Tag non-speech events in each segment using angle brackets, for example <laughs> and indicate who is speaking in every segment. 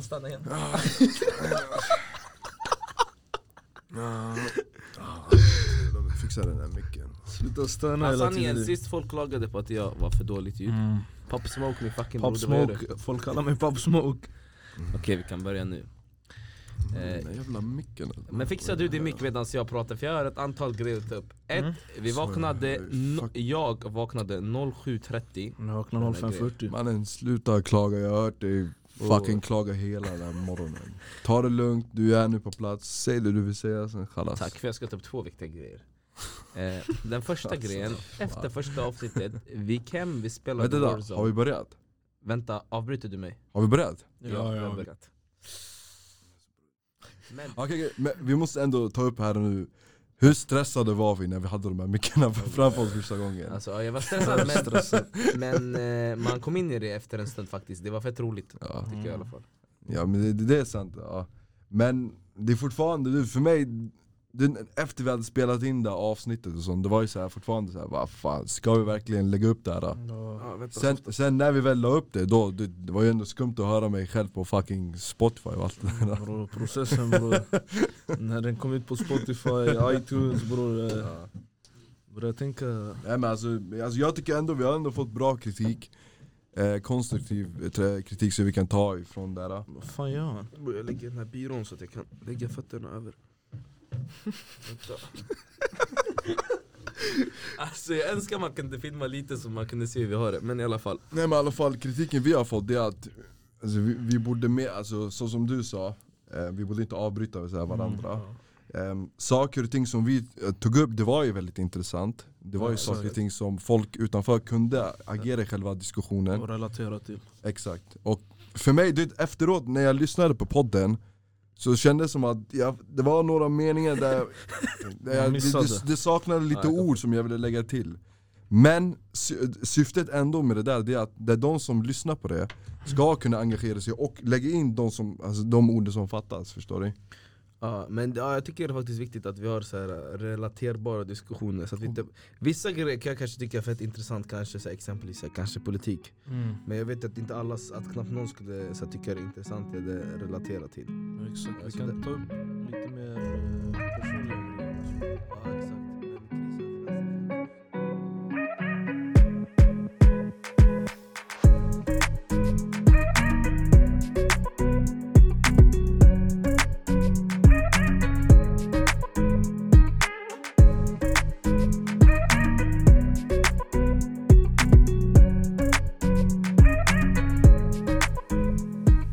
Speaker 1: Stanna igen.
Speaker 2: De fixar den där micken.
Speaker 3: Sluta stöna
Speaker 4: Alltså
Speaker 3: hela
Speaker 4: sanningen,
Speaker 3: tiden
Speaker 4: sist folk klagade på att jag var för dåligt ljud
Speaker 3: mm.
Speaker 4: Pop Smoke min fucking
Speaker 3: Pop
Speaker 4: broder, vad gör du?
Speaker 3: Smoke, folk kallar mig Pop Smoke
Speaker 4: Okej vi kan börja nu
Speaker 2: Den där jävla micken. alltså.
Speaker 4: Eh. Men fixar du din mick medan jag pratar för jag har ett antal grejer att ta upp
Speaker 3: Mm.
Speaker 4: Ett, vi
Speaker 2: Sorry,
Speaker 4: vaknade,
Speaker 2: fuck.
Speaker 4: no, jag vaknade 07.30
Speaker 3: Jag vaknar 05.40
Speaker 2: Mannen sluta klaga, jag har hört dig fucking
Speaker 4: Oh.
Speaker 2: klaga hela den här morgonen. Ta det lugnt, du är nu på plats, säg det du vill säga sen chalas.
Speaker 4: Tack för jag ska ta upp två viktiga grejer eh, Den första
Speaker 2: Alltså,
Speaker 4: grejen, efter första avsnittet, vi gick hem, vi spelade
Speaker 2: Vänta då,
Speaker 4: Warzone
Speaker 2: har vi börjat?
Speaker 4: Vänta, avbryter du mig?
Speaker 2: Har vi börjat?
Speaker 4: jag har
Speaker 3: ja.
Speaker 4: börjat. Men
Speaker 2: Okej, okej, men vi måste ändå ta upp här nu hur stressade var vi när vi hade de här mickarna <laughs> framför oss första gången?
Speaker 4: Alltså ja, jag var stressad men, men eh, man kom in i det efter en stund faktiskt, det var fett roligt
Speaker 2: Ja,
Speaker 4: tycker jag i alla fall
Speaker 2: ja men det, det det är sant. Ja. Men det är fortfarande, du, för mig, den, efter vi hade spelat in det här avsnittet och sånt, det var ju så här, fortfarande så här, vad fan, ska vi verkligen lägga upp det här? Då? Sen, sen när vi väl la upp det, då, det, det var ju ändå skumt att höra mig själv på fucking Spotify och allt det där.
Speaker 3: Bro, processen bror När den kom ut på Spotify, iTunes bror eh,
Speaker 2: Ja.
Speaker 3: Börja tänka
Speaker 2: Nej, men alltså, alltså jag tycker ändå vi har ändå fått bra kritik, eh, konstruktiv eh, trä- kritik som vi kan ta ifrån där. då.
Speaker 3: Vad fan gör Mm. han?
Speaker 4: Jag lägger den här byrån så att jag kan lägga fötterna över Alltså jag önskar man kunde filma lite så man kunde se hur vi har det, men i alla fall
Speaker 2: Nej men i alla fall kritiken vi har fått det är att alltså, vi, vi borde mer, alltså, så som du sa, eh, vi borde inte avbryta så här, varandra. Ehm, saker och ting som vi eh, tog upp, det var ju väldigt intressant. Det var ju
Speaker 3: Ja,
Speaker 2: saker och
Speaker 3: exakt.
Speaker 2: ting som folk utanför kunde agera i själva diskussionen.
Speaker 3: Och relatera till
Speaker 2: Exakt. Och för mig, du vet, efteråt när jag lyssnade på podden så kändes det som att jag, det var några meningar där, där jag, det,
Speaker 3: missade.
Speaker 2: det, det saknade
Speaker 4: Ja,
Speaker 2: lite
Speaker 4: jag
Speaker 2: ord som jag ville lägga till. Men sy- syftet ändå med det där det är att det är de som lyssnar på det ska kunna engagera sig och lägga in de, som, alltså, de orden som fattas, förstår du?
Speaker 4: Ja, men ja, jag tycker det är faktiskt viktigt att vi har så här eh, relaterbara diskussioner så att vi inte, Vissa grejer kan jag kanske tycka är fett intressant, kanske så här, exempelvis så här, kanske politik
Speaker 3: Mm.
Speaker 4: Men jag vet att inte alla, att knappt någon skulle så här, tycka det är intressant eller relatera till
Speaker 3: Exakt, vi
Speaker 4: Alltså,
Speaker 3: kan
Speaker 4: det-
Speaker 3: ta upp lite mer eh, personliga grejer
Speaker 4: Ja, exakt.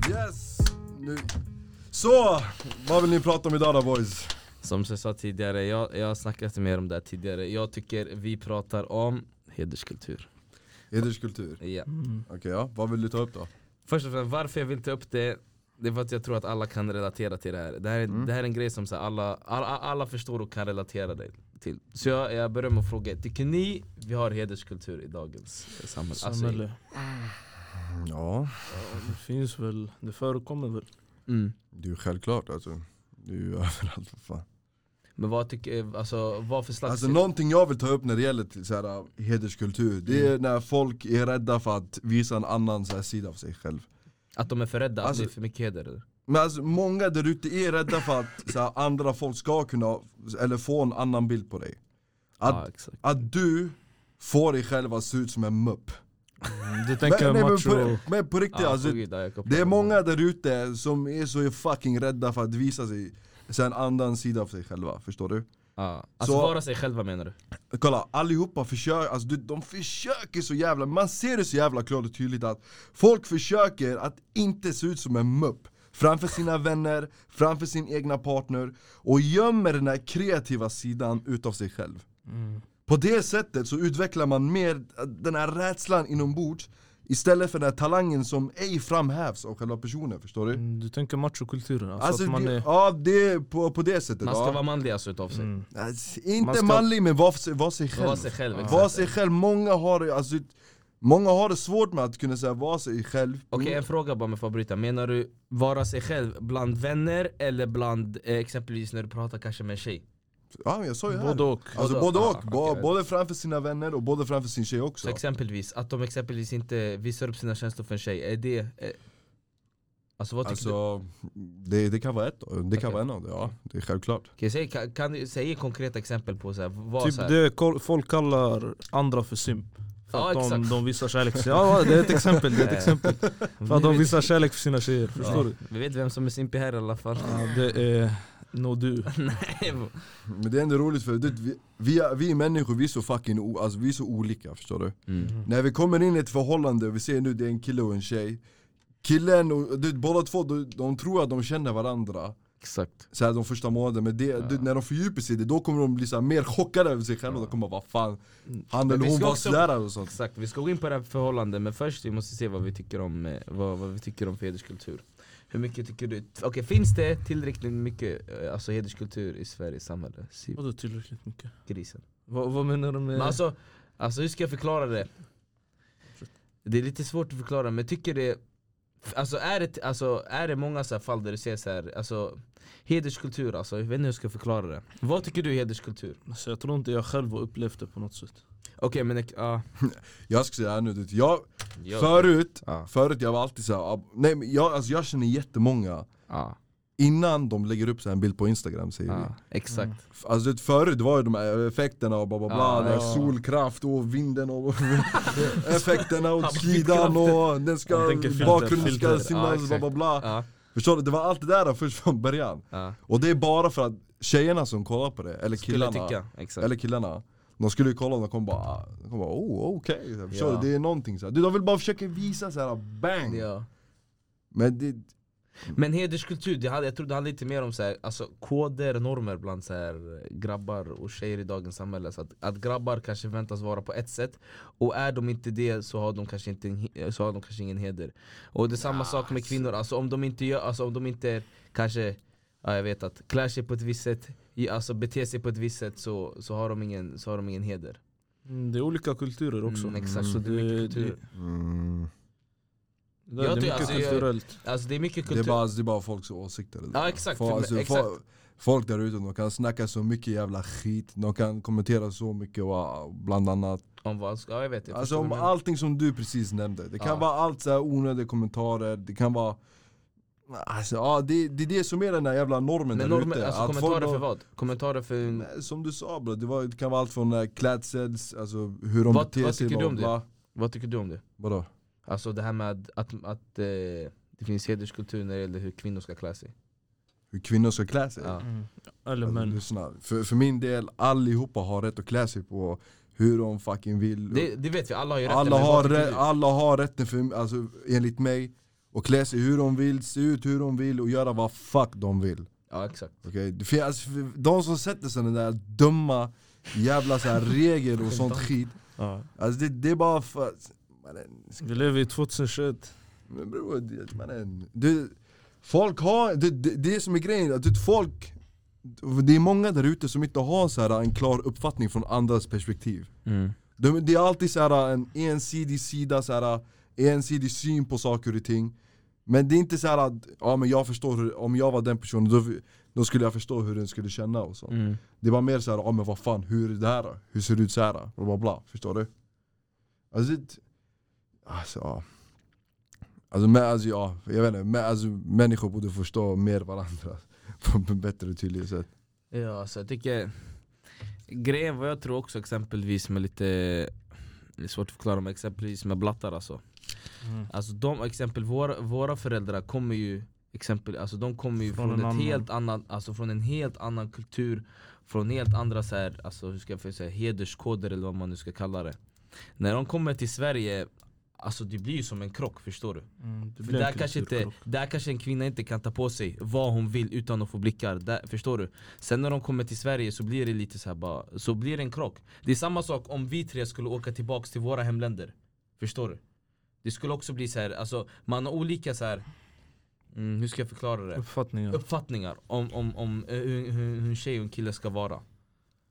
Speaker 2: Yes! Nu. Så, vad vill ni prata om idag då boys?
Speaker 4: Som jag sa tidigare, jag, jag har snackat med er om det här tidigare Jag tycker vi pratar om hederskultur
Speaker 2: Hederskultur.
Speaker 4: ja.
Speaker 3: Mm.
Speaker 2: Okej ja, vad vill du ta upp då?
Speaker 4: Först och främst, varför jag vill ta upp det Det är för att jag tror att alla kan relatera till det här Det här är,
Speaker 2: Mm.
Speaker 4: det här är en grej som så här, alla, alla, alla förstår och kan relatera det till Så jag, jag börjar med att fråga, tycker ni vi har hederskultur i dagens eh, samhälle? Alltså,
Speaker 3: Samhälle,
Speaker 2: Ja,
Speaker 3: ja, det finns väl, det förekommer väl
Speaker 4: mm.
Speaker 2: det är ju självklart alltså. Det är ju <laughs> överallt för fan.
Speaker 4: Men vad tycker, alltså vad för slags
Speaker 2: Alltså någonting jag vill ta upp när det gäller till så här, äh, hederskultur, det är när folk är rädda för att visa en annan så här, sida av sig själv.
Speaker 4: Att de är för rädda,
Speaker 2: Alltså-
Speaker 4: att det är för mycket heder eller?
Speaker 2: Men alltså, många där ute är rädda för att så här, andra folk ska kunna, eller få en annan bild på dig. Att,
Speaker 4: Ja, exakt
Speaker 2: att du får dig själv att se ut som en mupp.
Speaker 3: Du tänker
Speaker 2: men,
Speaker 3: macho
Speaker 2: på, men på riktigt,
Speaker 4: Ja,
Speaker 2: alltså,
Speaker 4: på Gud, ja, jag kopplar
Speaker 2: det är
Speaker 4: med.
Speaker 2: många där ute som är så fucking rädda för att visa sig så här, en annan sida av sig själva, förstår du?
Speaker 4: Ja. Alltså
Speaker 2: Så-
Speaker 4: vara sig själva menar du?
Speaker 2: Kolla, allihopa försöker, alltså du, de försöker så jävla, man ser det så jävla klart och tydligt att folk försöker att inte se ut som en mupp Framför sina vänner, framför sin egna partner och gömmer den här kreativa sidan utav sig själv På det sättet så utvecklar man mer den här rädslan inombords Istället för den här talangen som ej framhävs av själva personen, förstår du?
Speaker 3: Mm, Du tänker machokulturen, alltså,
Speaker 2: Alltså,
Speaker 3: att man
Speaker 2: det,
Speaker 3: är
Speaker 2: ja det är på, på det sättet
Speaker 4: Man ska
Speaker 2: ja.
Speaker 4: vara manlig alltså utav
Speaker 3: Mm.
Speaker 4: sig
Speaker 2: Alltså, inte
Speaker 3: Man ska-
Speaker 2: manlig men var, för sig- var sig själv
Speaker 4: Vara sig själv, exakt
Speaker 2: Vara sig själv, många har det, alltså, många har det svårt med att kunna säga vara sig själv Mm.
Speaker 4: Okej en fråga bara med för att bryta, menar du vara sig själv bland vänner eller bland eh, exempelvis när du pratar kanske med en tjej?
Speaker 2: Ja jag sa ju här
Speaker 3: både och
Speaker 2: Alltså
Speaker 4: Både
Speaker 2: både
Speaker 4: och.
Speaker 2: och,
Speaker 4: Ah,
Speaker 2: Bo-
Speaker 4: okej.
Speaker 2: både framför sina vänner och både framför sin tjej också
Speaker 4: Så exempelvis, att de exempelvis inte visar upp sina känslor för en tjej, är det... Eh, Alltså vad tycker du?
Speaker 2: Alltså, det, det kan vara ett, det kan
Speaker 4: Okej.
Speaker 2: vara en av det, ja. Det är självklart.
Speaker 4: Kan, säg, kan, kan du säga konkreta exempel på så här, vad
Speaker 3: Typ
Speaker 4: så här,
Speaker 3: det kol- folk kallar andra för simp. För
Speaker 4: Ja,
Speaker 3: att de,
Speaker 4: exakt.
Speaker 3: de visar kärlek. Ja det är ett exempel,
Speaker 4: <laughs>
Speaker 3: det är ett
Speaker 4: Eh,
Speaker 3: exempel. För att
Speaker 4: vi
Speaker 3: de
Speaker 4: vet-
Speaker 3: visar kärlek för sina tjejer, förstår du?
Speaker 4: Vi vet vem som är simpig här i alla fall.
Speaker 3: Ja, det är nå du.
Speaker 4: <laughs> Nej,
Speaker 2: Men det är ändå roligt för du, vet, vi, vi, är- vi människor vi är så fucking o, alltså, vi är så olika förstår du.
Speaker 3: Mm.
Speaker 4: Mm.
Speaker 2: När vi kommer in i ett förhållande och vi ser nu det är en kille och en tjej. Killen och du, vet, båda två, de, de tror att de känner varandra
Speaker 4: Exakt.
Speaker 2: så här, de första månaderna. Men det, du, när de fördjupar sig i det, då kommer de bli så här, mer chockade över sig själva. De kommer bara, vad fan, han
Speaker 4: Mm. Men
Speaker 2: eller
Speaker 4: vi
Speaker 2: hon
Speaker 4: ska
Speaker 2: var
Speaker 4: också-
Speaker 2: sådär och sånt.
Speaker 4: Exakt, vi ska gå in på det här förhållandet men först vi måste se vad vi tycker om, eh, vad, vad vi tycker om för hederskultur. Hur mycket tycker du? Okej, finns det tillräckligt mycket eh, alltså, hederskultur i Sveriges samhälle? Sy-
Speaker 3: Vadå tillräckligt mycket?
Speaker 4: Grisen.
Speaker 3: Vad, vad menar du med...
Speaker 4: Men alltså, alltså hur ska jag förklara det? Det är lite svårt att förklara men jag tycker det Alltså är det, alltså, är det många så här fall där du ser så här, alltså Hederskultur alltså, jag vet inte hur jag ska förklara det Vad tycker du är hederskultur?
Speaker 3: Alltså, jag tror inte jag själv har upplevt det på något sätt.
Speaker 4: Okej men, ja
Speaker 2: Jag ska säga det här nu, du, vet, jag,
Speaker 4: Ja.
Speaker 2: förut,
Speaker 4: Ja.
Speaker 2: förut jag var alltid såhär, ah, nej men jag, alltså, jag känner jättemånga
Speaker 4: ja,
Speaker 2: Innan de lägger upp så här en bild på instagram säger vi
Speaker 4: ja, exakt
Speaker 2: F- Alltså du vet, förut var ju de här effekterna och bla bla bla,
Speaker 4: Ja,
Speaker 2: det här
Speaker 4: ja.
Speaker 2: solkraft och vinden och <laughs> effekterna och skidan och den ska,
Speaker 3: Han tänker filter,
Speaker 2: bakgrunden ska
Speaker 3: filter.
Speaker 4: Ja,
Speaker 2: synas
Speaker 4: exakt.
Speaker 2: bla bla bla
Speaker 4: Ja,
Speaker 2: Förstår du? Det var allt det där först från början
Speaker 4: ja.
Speaker 2: Och det är bara för att tjejerna som kollar på det, eller
Speaker 4: Skulle
Speaker 2: killarna
Speaker 4: tycka, exakt
Speaker 2: Eller killarna de skulle ju kolla och de kommer bara, ah, de kommer bara oh okej, okay. förstår
Speaker 4: Ja.
Speaker 2: du? Det är någonting så här. Du, de vill bara försöka visa så här bang!
Speaker 4: ja.
Speaker 2: Men det,
Speaker 4: Men hederskultur, det hade, jag tror det handlar lite mer om så här, alltså, koder, normer bland så här, grabbar och tjejer i dagens samhälle så att, att grabbar kanske väntas vara på ett sätt Och är de inte det så har de kanske, inte en, he- så har de kanske ingen heder Och det är samma sak med kvinnor, alltså om de inte gör, alltså om de inte kanske Ja, jag vet att klär sig på ett visst sätt, i- alltså beter sig på ett visst sätt så, så, har, de ingen, så har de ingen heder
Speaker 3: Mm, det är olika kulturer också.
Speaker 4: Mm, exakt,
Speaker 3: Mm.
Speaker 4: så det är mycket
Speaker 3: Det,
Speaker 4: kultur.
Speaker 2: mm,
Speaker 3: det, det
Speaker 4: Jag
Speaker 3: är
Speaker 4: tycker
Speaker 3: mycket
Speaker 4: alltså, jag-
Speaker 3: kulturellt.
Speaker 4: Alltså det är mycket
Speaker 2: det, är
Speaker 4: kultur
Speaker 2: bara, det är bara folks åsikter det
Speaker 4: Ja,
Speaker 2: där.
Speaker 4: exakt,
Speaker 2: Folk-
Speaker 4: för-
Speaker 2: alltså,
Speaker 4: exakt.
Speaker 2: fo- Folk där ute, de kan snacka så mycket jävla skit, de kan kommentera så mycket och, bland annat
Speaker 4: Om vad, ja jag vet jag
Speaker 2: Alltså
Speaker 4: förstår
Speaker 2: om
Speaker 4: vad du menar.
Speaker 2: allting som du precis nämnde, det kan
Speaker 4: Ja.
Speaker 2: vara allt så här onödiga kommentarer, det kan vara Alltså ja, det, det är det som är den där jävla normen
Speaker 4: Men
Speaker 2: där
Speaker 4: normer,
Speaker 2: ute.
Speaker 4: alltså
Speaker 2: Att folk
Speaker 4: kommentarer för
Speaker 2: då-
Speaker 4: vad? Kommentarer för en
Speaker 2: Nej, Som du sa bro, det, var, det kan vara allt från eh, klädsels, alltså hur de
Speaker 4: Vad-
Speaker 2: beter
Speaker 4: vad
Speaker 2: sig
Speaker 4: tycker du om
Speaker 2: bla, bla.
Speaker 4: Vad tycker du om det?
Speaker 2: Vadå?
Speaker 4: Alltså det här med att, att eh, det finns hederskultur när det gäller hur kvinnor ska klä sig.
Speaker 2: Hur kvinnor ska klä sig?
Speaker 4: Ja.
Speaker 3: Mm. Eller
Speaker 2: Alltså,
Speaker 3: män.
Speaker 2: lyssna, för, för min del, allihopa har rätt att klä sig på hur de fucking vill
Speaker 4: Det, det vet vi, alla har ju rätt.
Speaker 2: alla,
Speaker 4: men vad
Speaker 2: har
Speaker 4: tycker
Speaker 2: rä-
Speaker 4: du?
Speaker 2: alla har rätten, för, alltså, enligt mig, att klä sig hur de vill, se ut hur de vill och göra vad fuck de vill
Speaker 4: Ja exakt.
Speaker 2: Okej, det fin- alltså, för de som sätter sig den där dumma jävla så här
Speaker 4: <laughs>
Speaker 2: regler och sånt skit
Speaker 3: Ja.
Speaker 2: Alltså det, det är bara för... Mannen,
Speaker 3: Vi lever i 2021.
Speaker 2: men bror, det- mannen, du, folk har, det, det, det som är grejen, att du, folk Det är många där ute som inte har så här, en klar uppfattning från andras perspektiv de, Det är alltid så här, en ensidig sida, så här, ensidig syn på saker och ting Men det är inte så här att, ja men jag förstår, hur, om jag var den personen då, då skulle jag förstå hur den skulle känna och så
Speaker 4: Mm.
Speaker 2: Det var mer så här, ja men vad fan, hur är det här då? Hur ser det ut så här? då? Bla bla bla, förstår du? Alltså, det, alltså ja Alltså, men, alltså ja, jag vet inte, men, alltså, människor borde förstå mer varandra <laughs> på ett bättre och tydligare sätt
Speaker 4: Ja alltså jag tycker Grejen vad jag tror också exempelvis med lite Det är svårt att förklara men exempelvis med blattar alltså
Speaker 3: Mm.
Speaker 4: Alltså de exempel, våra, våra föräldrar kommer ju exempel, alltså de kommer ju från,
Speaker 3: Från en
Speaker 4: ett
Speaker 3: annan.
Speaker 4: helt annan, alltså från en helt annan kultur Från helt andra så här, alltså hur ska jag säga, hederskoder eller vad man nu ska kalla det När de kommer till Sverige Alltså det blir ju som en krock förstår du?
Speaker 3: Mm,
Speaker 4: För
Speaker 3: det blir en
Speaker 4: Där kanske, inte,
Speaker 3: kulturkrock.
Speaker 4: där kanske en kvinna inte kan ta på sig vad hon vill utan att få blickar, där, förstår du? Sen när de kommer till Sverige så blir det lite så här bara, så blir det en krock Det är samma sak om vi tre skulle åka tillbaks till våra hemländer Förstår du? Det skulle också bli så här, alltså man har olika så här. Mm, hur ska jag förklara det?
Speaker 3: Uppfattningar.
Speaker 4: Uppfattningar om, om, om eh, hur, hur, hur en tjej och en kille ska vara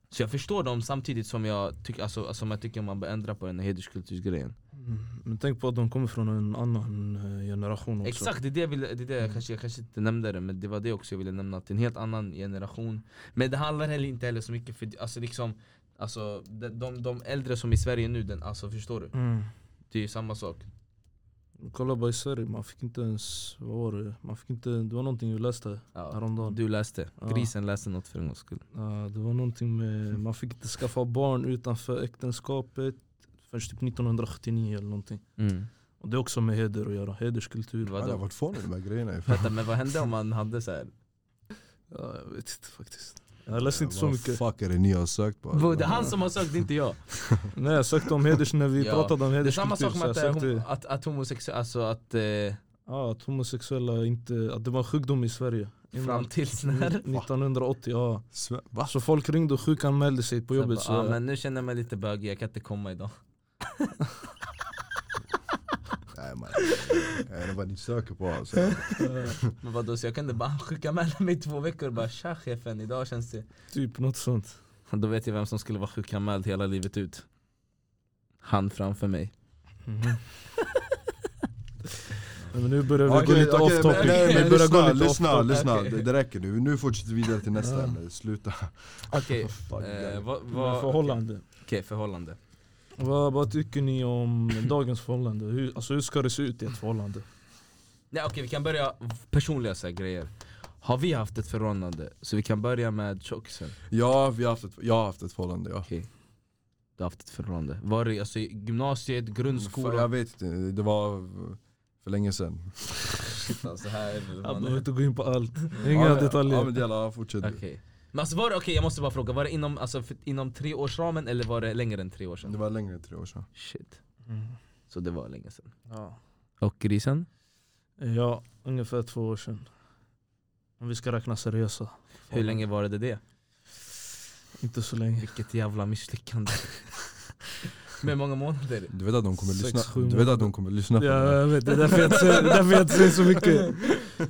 Speaker 4: Så jag förstår dem samtidigt som jag, tyck, alltså, som jag tycker man bör ändra på den här hederskultursgrejen
Speaker 3: Mm. Men tänk på att de kommer från en annan eh, generation också. Mm.
Speaker 4: Exakt, det är det jag ville, det är det jag, kanske, jag kanske inte nämnde det men det var det också jag ville nämna, att det är en helt annan generation Men det handlar heller inte heller så mycket för, alltså liksom Alltså de, de, de äldre som är i Sverige nu, den, alltså förstår du?
Speaker 3: Mm.
Speaker 4: Det är ju samma sak
Speaker 3: Kolla bara i Sverige, man fick inte ens, vad var det? Man fick inte, det var någonting vi läste häromdagen.
Speaker 4: Du läste,
Speaker 3: Ja.
Speaker 4: grisen läste något för en gångs skull.
Speaker 3: Ja, det var någonting med, man fick inte skaffa barn utanför äktenskapet förrän typ 1979 eller någonting.
Speaker 4: Mm.
Speaker 3: Och det är också med heder att göra, hederskultur.
Speaker 2: Ja, det har
Speaker 4: Vadå?
Speaker 2: varit fåniga de här grejerna ju.
Speaker 4: Vänta, men vad hände om man hade så här?
Speaker 3: Ja, jag vet inte faktiskt. Jag läste inte så
Speaker 2: Vad
Speaker 3: mycket.
Speaker 2: fuck är det ni har sökt på?
Speaker 4: Bro, det är han som har sökt, inte jag.
Speaker 3: Nej jag sökte om heders när vi
Speaker 4: Ja.
Speaker 3: pratade om
Speaker 4: Det är
Speaker 3: hederskultur.
Speaker 4: samma sak
Speaker 3: så
Speaker 4: med
Speaker 3: jag
Speaker 4: att, eh,
Speaker 3: sökte-
Speaker 4: homo- att, att homosexuella, alltså att... Eh,
Speaker 3: Ja, att homosexuella inte, att det var en sjukdom i Sverige.
Speaker 4: <laughs>
Speaker 3: Innan-
Speaker 4: fram tills när?
Speaker 3: 1980, ja.
Speaker 2: Sve- Va?
Speaker 3: Så folk ringde och sjukanmälde sig <laughs> på jobbet.
Speaker 4: Så jag bara, ah,
Speaker 3: <laughs> Så,
Speaker 4: men nu känner jag mig lite bögig, jag kan inte komma
Speaker 3: <laughs>
Speaker 4: idag.
Speaker 2: Nej man, jag vet inte vad ni söker på alltså. Jag
Speaker 4: Men vadå, så jag kunde bara <laughs> sjukanmäla mig i två veckor och bara tja chefen, idag känns det...
Speaker 3: typ något sånt.
Speaker 4: <laughs> Då vet jag vem som skulle vara sjukanmäld hela livet ut. Han framför mig.
Speaker 3: Nej, Mm-hmm. <laughs> Men nu börjar vi
Speaker 2: Okej,
Speaker 3: gå lite
Speaker 2: okej,
Speaker 3: off
Speaker 2: men-
Speaker 3: topic.
Speaker 2: nej, men
Speaker 3: vi börjar
Speaker 2: lyssna,
Speaker 3: gå lite
Speaker 2: lyssna,
Speaker 3: off topic.
Speaker 2: lyssna.
Speaker 4: Okej.
Speaker 2: Det, det räcker nu, nu fortsätter vi vidare till nästa
Speaker 3: Ja.
Speaker 2: ämne, sluta.
Speaker 4: <laughs> Okej,
Speaker 2: Fuck,
Speaker 4: eh,
Speaker 2: guys.
Speaker 4: vad-
Speaker 3: Men
Speaker 4: vad-
Speaker 3: Förhållande.
Speaker 4: Okej, förhållande.
Speaker 3: Vad, vad tycker ni om dagens förhållande? Hur, alltså, hur ska det se ut i ett förhållande?
Speaker 4: Nej okej, vi kan börja personliga så här, grejer. Har vi haft ett förhållande? Så vi kan börja med tjockisen.
Speaker 2: Ja, vi har haft ett, jag har haft ett förhållande ja.
Speaker 4: Du har haft ett förhållande. Var det alltså, i gymnasiet,
Speaker 2: Fan, Jag
Speaker 4: grundskolan?
Speaker 2: vet inte, det var för länge sedan.
Speaker 4: Shit, alltså, här är
Speaker 3: Jag
Speaker 4: man-
Speaker 3: behöver
Speaker 4: Okej.
Speaker 3: inte gå in på allt. Inga
Speaker 2: ja,
Speaker 3: detaljer.
Speaker 2: Ja men jävlar, fortsätt du.
Speaker 4: Men alltså var det, okej jag måste bara fråga, var det inom, alltså, för, inom treårsramen eller var det längre än tre år
Speaker 2: Det
Speaker 4: sedan?
Speaker 2: var längre än tre år sedan.
Speaker 4: Shit,
Speaker 3: Mm.
Speaker 4: så det var länge sedan.
Speaker 3: Ja.
Speaker 4: Och grisen?
Speaker 3: ja, ungefär två år sedan. Om vi ska räkna seriösa.
Speaker 4: Hur länge var det det?
Speaker 3: Inte så länge.
Speaker 4: Vilket jävla misslyckande. <laughs> Med många månader.
Speaker 2: Du vet att de kommer
Speaker 3: Sex,
Speaker 2: lyssna,
Speaker 3: sju
Speaker 2: du vet
Speaker 3: månader.
Speaker 2: att de kommer lyssna på
Speaker 3: Ja,
Speaker 2: det
Speaker 3: jag vet, det är därför jag inte säger, det är därför jag inte säger
Speaker 2: <laughs>
Speaker 3: så mycket.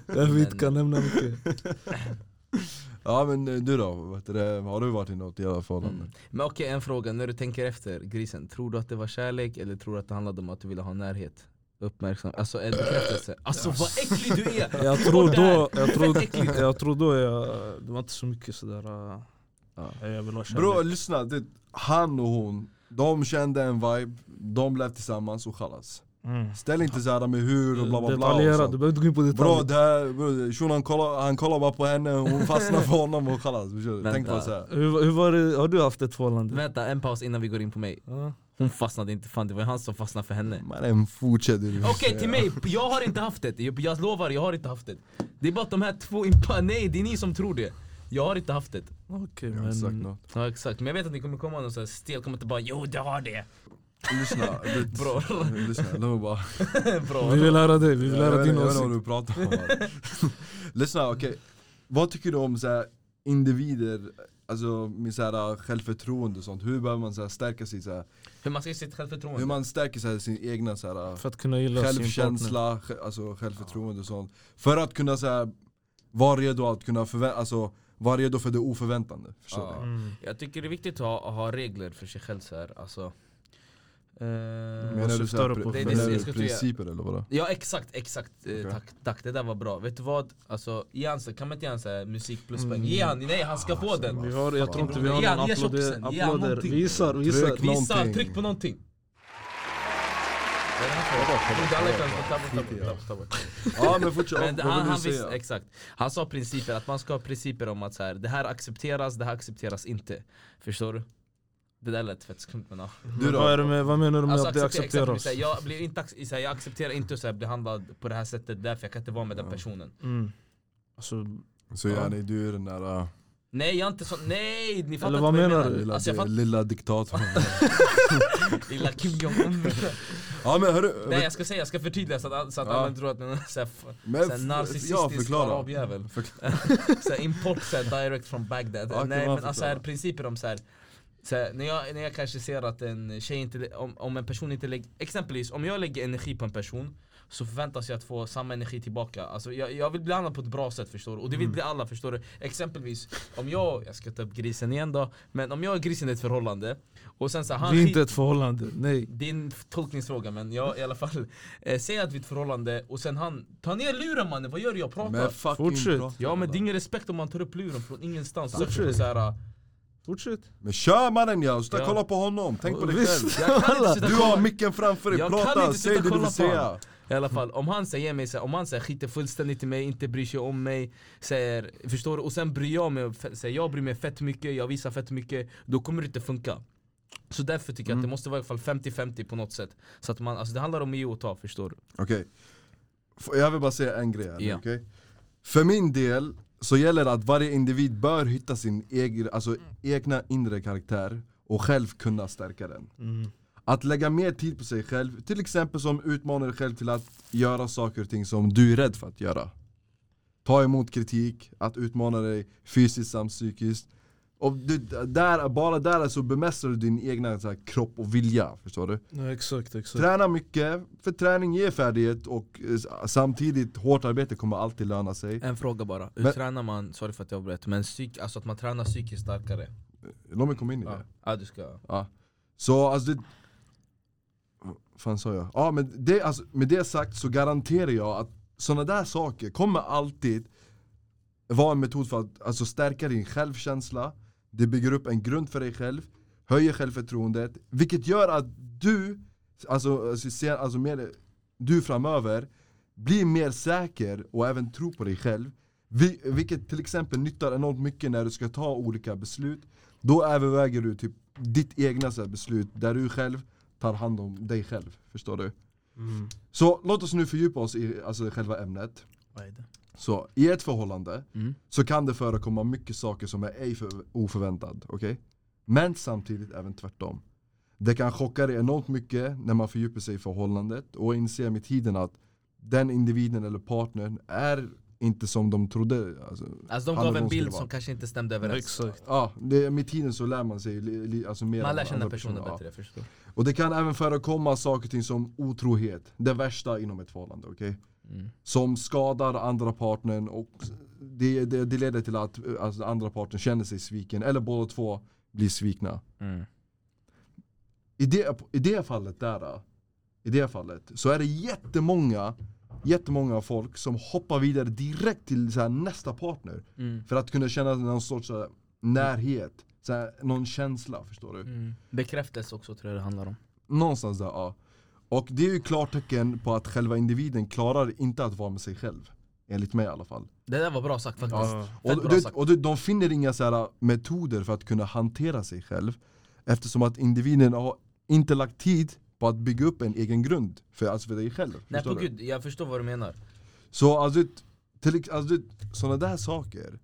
Speaker 3: Därför vi inte kan nämna mycket.
Speaker 2: Ja men eh, du då, vet du, det, har du varit i något jävla förhållande?
Speaker 4: Mm. Men okej, en fråga. När du tänker efter, grisen. Tror du att det var kärlek eller tror du att det handlade om att du ville ha närhet? Uppmärksam. Alltså en bekräftelse. Alltså vad äcklig du är!
Speaker 3: <laughs> Jag tror
Speaker 4: Och där.
Speaker 3: då, jag tror,
Speaker 4: Fett äckligt.
Speaker 3: jag tror då jag, det var inte så mycket sådär, äh,
Speaker 2: Ja.
Speaker 3: jag vill ha kärlek.
Speaker 2: Bro lyssna, det, han och hon, de kände en vibe, de blev tillsammans och chalas
Speaker 3: Mm.
Speaker 2: Ställ inte såhär med hur och bla bla alltså. bla och
Speaker 3: Detaljera,
Speaker 2: sånt.
Speaker 3: du behöver inte gå in på
Speaker 2: Bro
Speaker 3: detaljer.
Speaker 2: det här, bro, shunon kollar, han kollar bara på henne, hon fastnar för honom och chalas Tänk
Speaker 4: Vänta.
Speaker 2: bara såhär
Speaker 3: Hur, hur var det, har du haft ett förhållande?
Speaker 4: Vänta, en paus innan vi går in på mig.
Speaker 3: Ja.
Speaker 4: Hon fastnade inte, fan det var ju han som fastnade för henne.
Speaker 2: Mannen fortsätter du
Speaker 4: Okej till mig, jag har inte haft det. Jag, jag lovar, jag har inte haft det. Det är bara att de här två impa... <laughs> Nej, det är ni som tror det. Jag har inte haft det.
Speaker 3: Okej
Speaker 2: Jag har inte sagt
Speaker 3: men,
Speaker 2: något
Speaker 4: Ja exakt, men jag vet att ni kommer komma någon sån här stel kommer inte bara 'Jo du har det'
Speaker 2: <laughs> Lyssna, du,
Speaker 4: Bro.
Speaker 2: lyssna, låt mig <laughs> bara
Speaker 4: Bra.
Speaker 2: Mm.
Speaker 3: vi vill höra dig, vi
Speaker 2: Jag
Speaker 3: vill
Speaker 2: vet
Speaker 3: höra
Speaker 2: inte-
Speaker 3: din
Speaker 2: jag vet inte vad du
Speaker 3: åsikt.
Speaker 2: pratar om
Speaker 3: <laughs>
Speaker 2: här. Lyssna, okej Vad tycker du om så här, individer, alltså med så här, självförtroende och sånt? Hur behöver man så här, stärka sig, så här,
Speaker 4: Hur man ska ge sitt
Speaker 2: hur
Speaker 4: självförtroende.
Speaker 2: man stärker så här, sin egna så här, äh,
Speaker 3: För att kunna gilla sin partner.
Speaker 2: självkänsla, sj- alltså självförtroende och sånt För att kunna så här, vara redo att kunna förvänta, alltså vara redo för det oförväntande Förstår
Speaker 4: Ja.
Speaker 2: du?
Speaker 3: Mm.
Speaker 4: Jag tycker det är viktigt att ha, att ha regler för sig själv så här. Alltså, eh,
Speaker 3: Men-
Speaker 2: Menar du, så
Speaker 3: syftar
Speaker 2: här,
Speaker 3: du på?
Speaker 2: pr-
Speaker 3: Det- det-
Speaker 2: menar
Speaker 4: jag
Speaker 2: du
Speaker 4: skulle säga-
Speaker 2: principer eller vadå?
Speaker 4: Ja exakt, exakt. Eh,
Speaker 2: Okej.
Speaker 4: tack, tack, det där var bra. Vet du vad? Alltså, ge han, så- kan man inte ge han så här musik plus poäng?
Speaker 3: Mm.
Speaker 4: Ge han, nej han ska få
Speaker 2: Alltså,
Speaker 4: den!
Speaker 2: vad-
Speaker 3: Vi har, jag tror inte vi har
Speaker 4: Ge han-
Speaker 3: någon
Speaker 4: ge tjockisen,
Speaker 3: applåder.
Speaker 4: ge han
Speaker 3: applåder. Mm.
Speaker 4: någonting.
Speaker 3: Visar, visar.
Speaker 2: Tryck
Speaker 4: Visa,
Speaker 2: någonting.
Speaker 4: tryck på någonting! Vad är det här
Speaker 2: Vadå,
Speaker 4: för-
Speaker 2: kolla,
Speaker 4: Borde alla
Speaker 2: kolla,
Speaker 4: kunna-
Speaker 2: kolla.
Speaker 4: tabba, tabba,
Speaker 2: Skit i det.
Speaker 4: tabba, tabba.
Speaker 2: Ja men fortsätt,
Speaker 4: Men
Speaker 2: vad
Speaker 4: han,
Speaker 2: vill
Speaker 4: han,
Speaker 2: du
Speaker 4: visst,
Speaker 2: säga?
Speaker 4: exakt. han sa principer, att man ska ha principer om att så här, det här accepteras, det här accepteras inte. Förstår du? Det där lät fett skumt men ja.
Speaker 2: Du
Speaker 3: Men
Speaker 2: då?
Speaker 3: Vad, är det med, vad menar du med att
Speaker 4: acceptera-
Speaker 3: det
Speaker 4: Alltså, exakt,
Speaker 3: accepteras?
Speaker 4: såhär, jag, blir inte, ac- såhär, jag accepterar inte att såhär, bli handlad på det här sättet därför jag kan inte vara med den personen.
Speaker 3: Mm. Alltså,
Speaker 2: Så
Speaker 3: Ja.
Speaker 2: yani, du är den där äh,
Speaker 4: Nej jag är inte så, nej ni fattar
Speaker 3: Eller
Speaker 4: inte
Speaker 3: vad
Speaker 4: jag
Speaker 3: menar du?
Speaker 2: lilla,
Speaker 4: Alltså, jag fatt,
Speaker 2: lilla
Speaker 4: <laughs>
Speaker 2: diktatorn
Speaker 4: lilla Kim Jong-Un.
Speaker 3: <laughs>
Speaker 2: Ja men hörru,
Speaker 4: nej jag ska säga, jag ska förtydliga så att, så att
Speaker 2: Ja.
Speaker 4: alla tror att man är såhär, f-
Speaker 2: men
Speaker 4: såhär
Speaker 2: f- ja,
Speaker 4: narcissistisk
Speaker 2: förklara.
Speaker 4: arabjävel.
Speaker 2: Förklara.
Speaker 4: <laughs> Såhär import såhär, direct from Bagdad.
Speaker 2: Ja, kan
Speaker 4: nej
Speaker 2: man
Speaker 4: men alltså
Speaker 2: förklara.
Speaker 4: här, principer om såhär så här, när, jag, när jag kanske ser att en tjej inte, om, om en person inte lägger, exempelvis om jag lägger energi på en person Så förväntas jag att få samma energi tillbaka, alltså jag, jag vill bli behandlad på ett bra sätt förstår du, och det
Speaker 2: Mm.
Speaker 4: vill bli alla förstår du Exempelvis, om jag, jag ska ta upp grisen igen då Men om jag och grisen är i ett förhållande och sen så här, han
Speaker 3: det är
Speaker 4: skit-
Speaker 3: inte ett förhållande, nej.
Speaker 4: det är en tolkningsfråga men jag i alla fall eh, Säg att vi är ett förhållande och sen han, ta ner luren mannen, vad gör du? Jag pratar
Speaker 2: Men fucking
Speaker 3: Fortsätt.
Speaker 2: bra.
Speaker 4: Ja men det är ingen respekt om man tar upp luren från ingenstans så
Speaker 3: Absolut.
Speaker 4: så här, eh,
Speaker 3: Fortsätt.
Speaker 2: Men kör mannen ja, sluta
Speaker 4: Ja.
Speaker 2: kolla på honom, tänk på dig
Speaker 3: Visst.
Speaker 2: själv
Speaker 4: Jag kan inte sitta
Speaker 2: Du
Speaker 4: och
Speaker 2: har
Speaker 4: kolla-
Speaker 2: micken framför dig,
Speaker 4: Jag kan
Speaker 2: prata,
Speaker 4: inte sitta
Speaker 2: säg
Speaker 4: och
Speaker 2: det du
Speaker 4: kolla
Speaker 2: vill
Speaker 4: på honom.
Speaker 2: säga
Speaker 4: I alla fall, om han säger mig så här, om han så här, skiter fullständigt i mig, inte bryr sig om mig, säger, förstår du? Och sen bryr jag mig, f- säger, jag bryr mig fett mycket, jag visar fett mycket, då kommer det inte funka. Så därför tycker jag
Speaker 2: Mm.
Speaker 4: att det måste vara i alla fall 50-50 på något sätt. Så att man, alltså det handlar om att ge och ta, förstår du?
Speaker 2: Okej. F- Jag vill bara säga en grej här,
Speaker 4: Ja.
Speaker 2: okej? För min del så gäller det att varje individ bör hitta sin egen, alltså, egna inre karaktär och själv kunna stärka den. Att lägga mer tid på sig själv, till exempel som utmanar dig själv till att göra saker och ting som du är rädd för att göra. Ta emot kritik, att utmana dig fysiskt samt psykiskt. Och du, där, bara där så bemästrar du din egna så här, kropp och vilja, förstår du?
Speaker 3: Ja, exakt, exakt.
Speaker 2: Typ. Träna mycket, för träning ger färdighet och eh, s- samtidigt hårt arbete kommer alltid löna sig.
Speaker 4: En fråga bara, hur
Speaker 2: Men-
Speaker 4: tränar man, sorry för att jag avbröt, men psyk, alltså att man tränar psykiskt starkare?
Speaker 2: Låt mig komma in i
Speaker 4: Ja,
Speaker 2: det.
Speaker 4: ja du ska...
Speaker 2: Ja. Så alltså det... Vad fan sa jag? Ja, men det, alltså, med det sagt så garanterar jag att sådana där saker kommer alltid vara en metod för att alltså, stärka din självkänsla. Det bygger upp en grund för dig själv, höjer självförtroendet. Vilket gör att du, alltså, alltså, sen, alltså mer, du framöver, blir mer säker och även tror på dig själv. Vi, vilket till exempel nyttar enormt mycket när du ska ta olika beslut. Då överväger du typ ditt egna så här beslut där du själv tar hand om dig själv. Förstår du?
Speaker 3: Mm.
Speaker 2: Så låt oss nu fördjupa oss i alltså, själva ämnet.
Speaker 3: Vad är det?
Speaker 2: Så i ett förhållande
Speaker 4: Mm.
Speaker 2: så kan det förekomma mycket saker som är ej för, oförväntad. okej? Men samtidigt även tvärtom. Det kan chocka dig enormt mycket när man fördjupar sig i förhållandet och inser med tiden att den individen eller partnern är inte som de trodde. Alltså,
Speaker 4: Alltså de
Speaker 2: Han
Speaker 4: gav
Speaker 2: eller
Speaker 4: en
Speaker 2: hon skulle
Speaker 4: bild
Speaker 2: vara.
Speaker 4: som kanske inte stämde överens.
Speaker 3: Exakt.
Speaker 2: ja, det, med tiden så lär man sig li, li, alltså mer
Speaker 4: Man
Speaker 2: om
Speaker 4: lär känna
Speaker 2: andra
Speaker 4: personen
Speaker 2: personer, ja.
Speaker 4: bättre, jag förstår.
Speaker 2: Och det kan även förekomma saker och ting som otrohet, det värsta inom ett förhållande, okej?
Speaker 4: Mm.
Speaker 2: Som skadar andra partnern och det, det, det leder till att eh, alltså, den andra parten känner sig sviken, eller båda två blir svikna.
Speaker 4: Mm.
Speaker 2: I det, I det fallet där, i det fallet, så är det jättemånga, jättemånga folk som hoppar vidare direkt till så här, nästa partner.
Speaker 4: Mm.
Speaker 2: För att kunna känna någon sorts så här, närhet, så här, någon känsla, förstår du?
Speaker 4: Mm. Bekräftelse också tror jag det handlar om.
Speaker 2: Någonstans där, ja. Och det är ju klartecken på att själva individen klarar inte att vara med sig själv. Enligt mig i alla fall.
Speaker 4: Det där var bra sagt faktiskt.
Speaker 3: Ja.
Speaker 2: Och,
Speaker 4: Fett bra
Speaker 2: du,
Speaker 4: sagt.
Speaker 2: och du, de finner inga så här metoder för att kunna hantera sig själv. Eftersom att individen har inte lagt tid på att bygga upp en egen grund för, alltså för dig själv.
Speaker 4: Nej
Speaker 2: förstår
Speaker 4: på
Speaker 2: du?
Speaker 4: gud, jag förstår vad du menar.
Speaker 2: Så alltså, till, ex- alltså sådana där saker.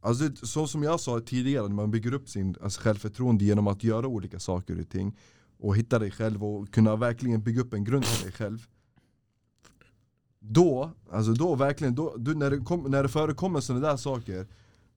Speaker 2: Alltså, så som jag sa tidigare, när man bygger upp sin alltså, självförtroende genom att göra olika saker och ting. Och hitta dig själv och kunna verkligen bygga upp en grund för dig själv. Då, alltså då verkligen, då, du, när, det kom, när det förekommer sådana där saker.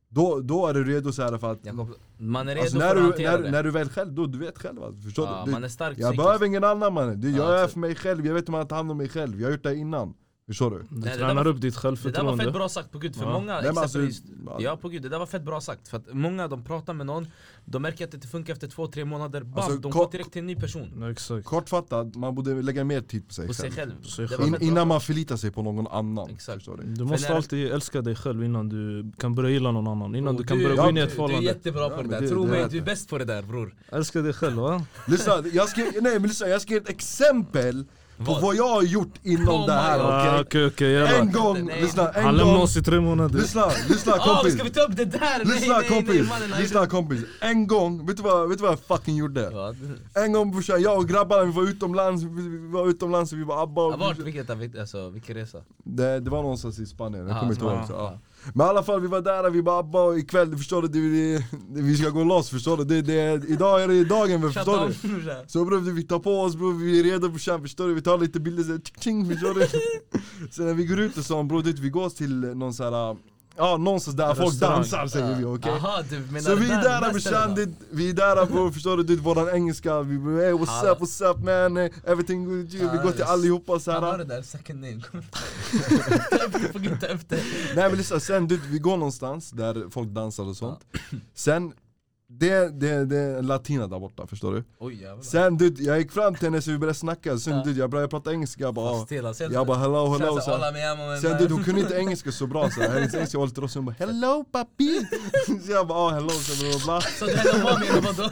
Speaker 2: Då, då är du redo så här för att,
Speaker 4: Jag kom, man är redo
Speaker 2: alltså,
Speaker 4: för
Speaker 2: när,
Speaker 4: att
Speaker 2: du,
Speaker 4: hantera
Speaker 2: när,
Speaker 4: det.
Speaker 2: när du väl själv, då du vet själv. Alltså, förstår
Speaker 4: ja,
Speaker 2: du? du
Speaker 4: man är stark
Speaker 2: jag
Speaker 4: psykiskt.
Speaker 2: behöver ingen annan mannen, Du, jag
Speaker 4: Ja,
Speaker 2: är
Speaker 4: exakt.
Speaker 2: för mig själv, jag vet hur man tar hand om mig själv, jag har gjort det här innan. Förstår du?
Speaker 3: Du
Speaker 4: det där
Speaker 3: tränar
Speaker 4: var-
Speaker 3: upp ditt
Speaker 4: Det där var
Speaker 3: självförtroende.
Speaker 4: fett bra sagt på gud, för
Speaker 3: Ja.
Speaker 4: många
Speaker 2: Nej, men alltså,
Speaker 4: exempelvis
Speaker 2: ja.
Speaker 4: Ja på gud, det där var fett bra sagt. För att många de pratar med någon, de märker att det inte funkar efter två, tre månader, bam!
Speaker 2: Alltså,
Speaker 4: de
Speaker 2: ko-
Speaker 4: går direkt till en ny person.
Speaker 3: Ja, exakt.
Speaker 2: Kortfattat, man borde lägga mer tid på sig
Speaker 4: På sig
Speaker 2: själv.
Speaker 4: själv.
Speaker 3: sig
Speaker 4: Det var
Speaker 3: själv.
Speaker 4: fett
Speaker 2: In,
Speaker 4: bra
Speaker 2: innan
Speaker 4: sagt.
Speaker 2: man förlitar sig på någon annan.
Speaker 4: Exakt.
Speaker 2: Förstår du?
Speaker 3: Du måste
Speaker 4: när-
Speaker 3: alltid älska dig själv innan du kan börja gilla någon annan. Innan
Speaker 4: Och
Speaker 3: du kan börja gå in i
Speaker 4: Du,
Speaker 3: ett
Speaker 4: du är
Speaker 3: förhållande.
Speaker 4: jättebra
Speaker 2: Ja,
Speaker 4: på det
Speaker 2: men
Speaker 4: där,
Speaker 2: det-
Speaker 4: tro
Speaker 2: det
Speaker 4: mig,
Speaker 2: vet
Speaker 4: du är
Speaker 2: jag.
Speaker 4: bäst på det där bror.
Speaker 3: Älska dig själv
Speaker 4: <laughs>
Speaker 3: va?
Speaker 2: Lyssna, jag skrev, nej, men lyssna, jag skrev ett exempel på
Speaker 4: Vad?
Speaker 2: vad jag har gjort inom
Speaker 4: Oh
Speaker 2: det här.
Speaker 4: my God.
Speaker 2: okej?
Speaker 3: Ah, Okej okej jävlar.
Speaker 2: En gång,
Speaker 4: Nej.
Speaker 2: lyssna, en
Speaker 3: Han lämnade
Speaker 2: gång.
Speaker 3: oss i tre månader.
Speaker 2: Lyssna, lyssna
Speaker 4: Ah, men
Speaker 2: kompis.
Speaker 4: ska vi ta upp det där?
Speaker 2: Lyssna
Speaker 4: nej, nej,
Speaker 2: kompis,
Speaker 4: Nej, mannen,
Speaker 2: lyssna kompis. En gång, vet du vad, vet du vad jag fucking gjorde?
Speaker 4: Ja, det-
Speaker 2: En gång brorsan, jag och grabbarna vi var utomlands, vi vi var utomlands och vi var abba
Speaker 4: Ja,
Speaker 2: och
Speaker 4: Vart? Vilket, alltså, vilken resa?
Speaker 2: Det, det var någonstans i Spanien, jag
Speaker 4: Ah,
Speaker 2: kommer inte ihåg
Speaker 3: ah,
Speaker 2: också. Ja. Men i alla fall vi var där och vi bara abba och ikväll, du förstår du, det, det, vi ska gå loss förstår du. Det, det, idag är det dagen, men
Speaker 4: Shut
Speaker 2: förstår du?
Speaker 4: up, brorsan.
Speaker 2: Så bror vi tar på oss bror, vi är redo brorsan förstår du, vi tar lite bilder såhär tjing förstår du Sen när vi går ut och så bror du vet, vi går till någon sån här, ja någonstans där folk
Speaker 3: Restaurang.
Speaker 2: dansar säger vi okej
Speaker 4: Aha, du menar
Speaker 2: Så vi
Speaker 4: det
Speaker 2: är
Speaker 4: där,
Speaker 2: där
Speaker 4: de
Speaker 2: brorsan,
Speaker 4: ställena.
Speaker 2: det- vi är där bror förstår du, du vet, våran engelska, vi bara hey what's
Speaker 4: Hallå.
Speaker 2: up, what's up man, Eh, everything good with you, vi går till
Speaker 4: Ah,
Speaker 2: allihopa
Speaker 4: Han har det
Speaker 2: såhär
Speaker 4: där second name, <laughs> kom Ta upp det, får inte ta upp det
Speaker 2: Nej men lyssna, sen du vet, vi går någonstans där folk dansar och sånt Sen det, det, det är en latina där borta, förstår du?
Speaker 4: Oj jävlar.
Speaker 2: Sen du, jag gick fram till henne så vi började snacka, sen
Speaker 4: Ja.
Speaker 2: du, jag började prata engelska, jag bara, ah.
Speaker 4: Fast alltså, hela sen-
Speaker 2: jag bara hello
Speaker 4: sen
Speaker 2: hello
Speaker 4: så
Speaker 2: sen,
Speaker 4: alla med jamma med
Speaker 2: sen
Speaker 4: mig.
Speaker 2: du, hon kunde inte engelska så bra så här. hennes engelska var lite rossig, hon bara hello papi! <laughs> Så jag bara ah hello, sen bla bla bla
Speaker 4: Så du häller mami eller vadå?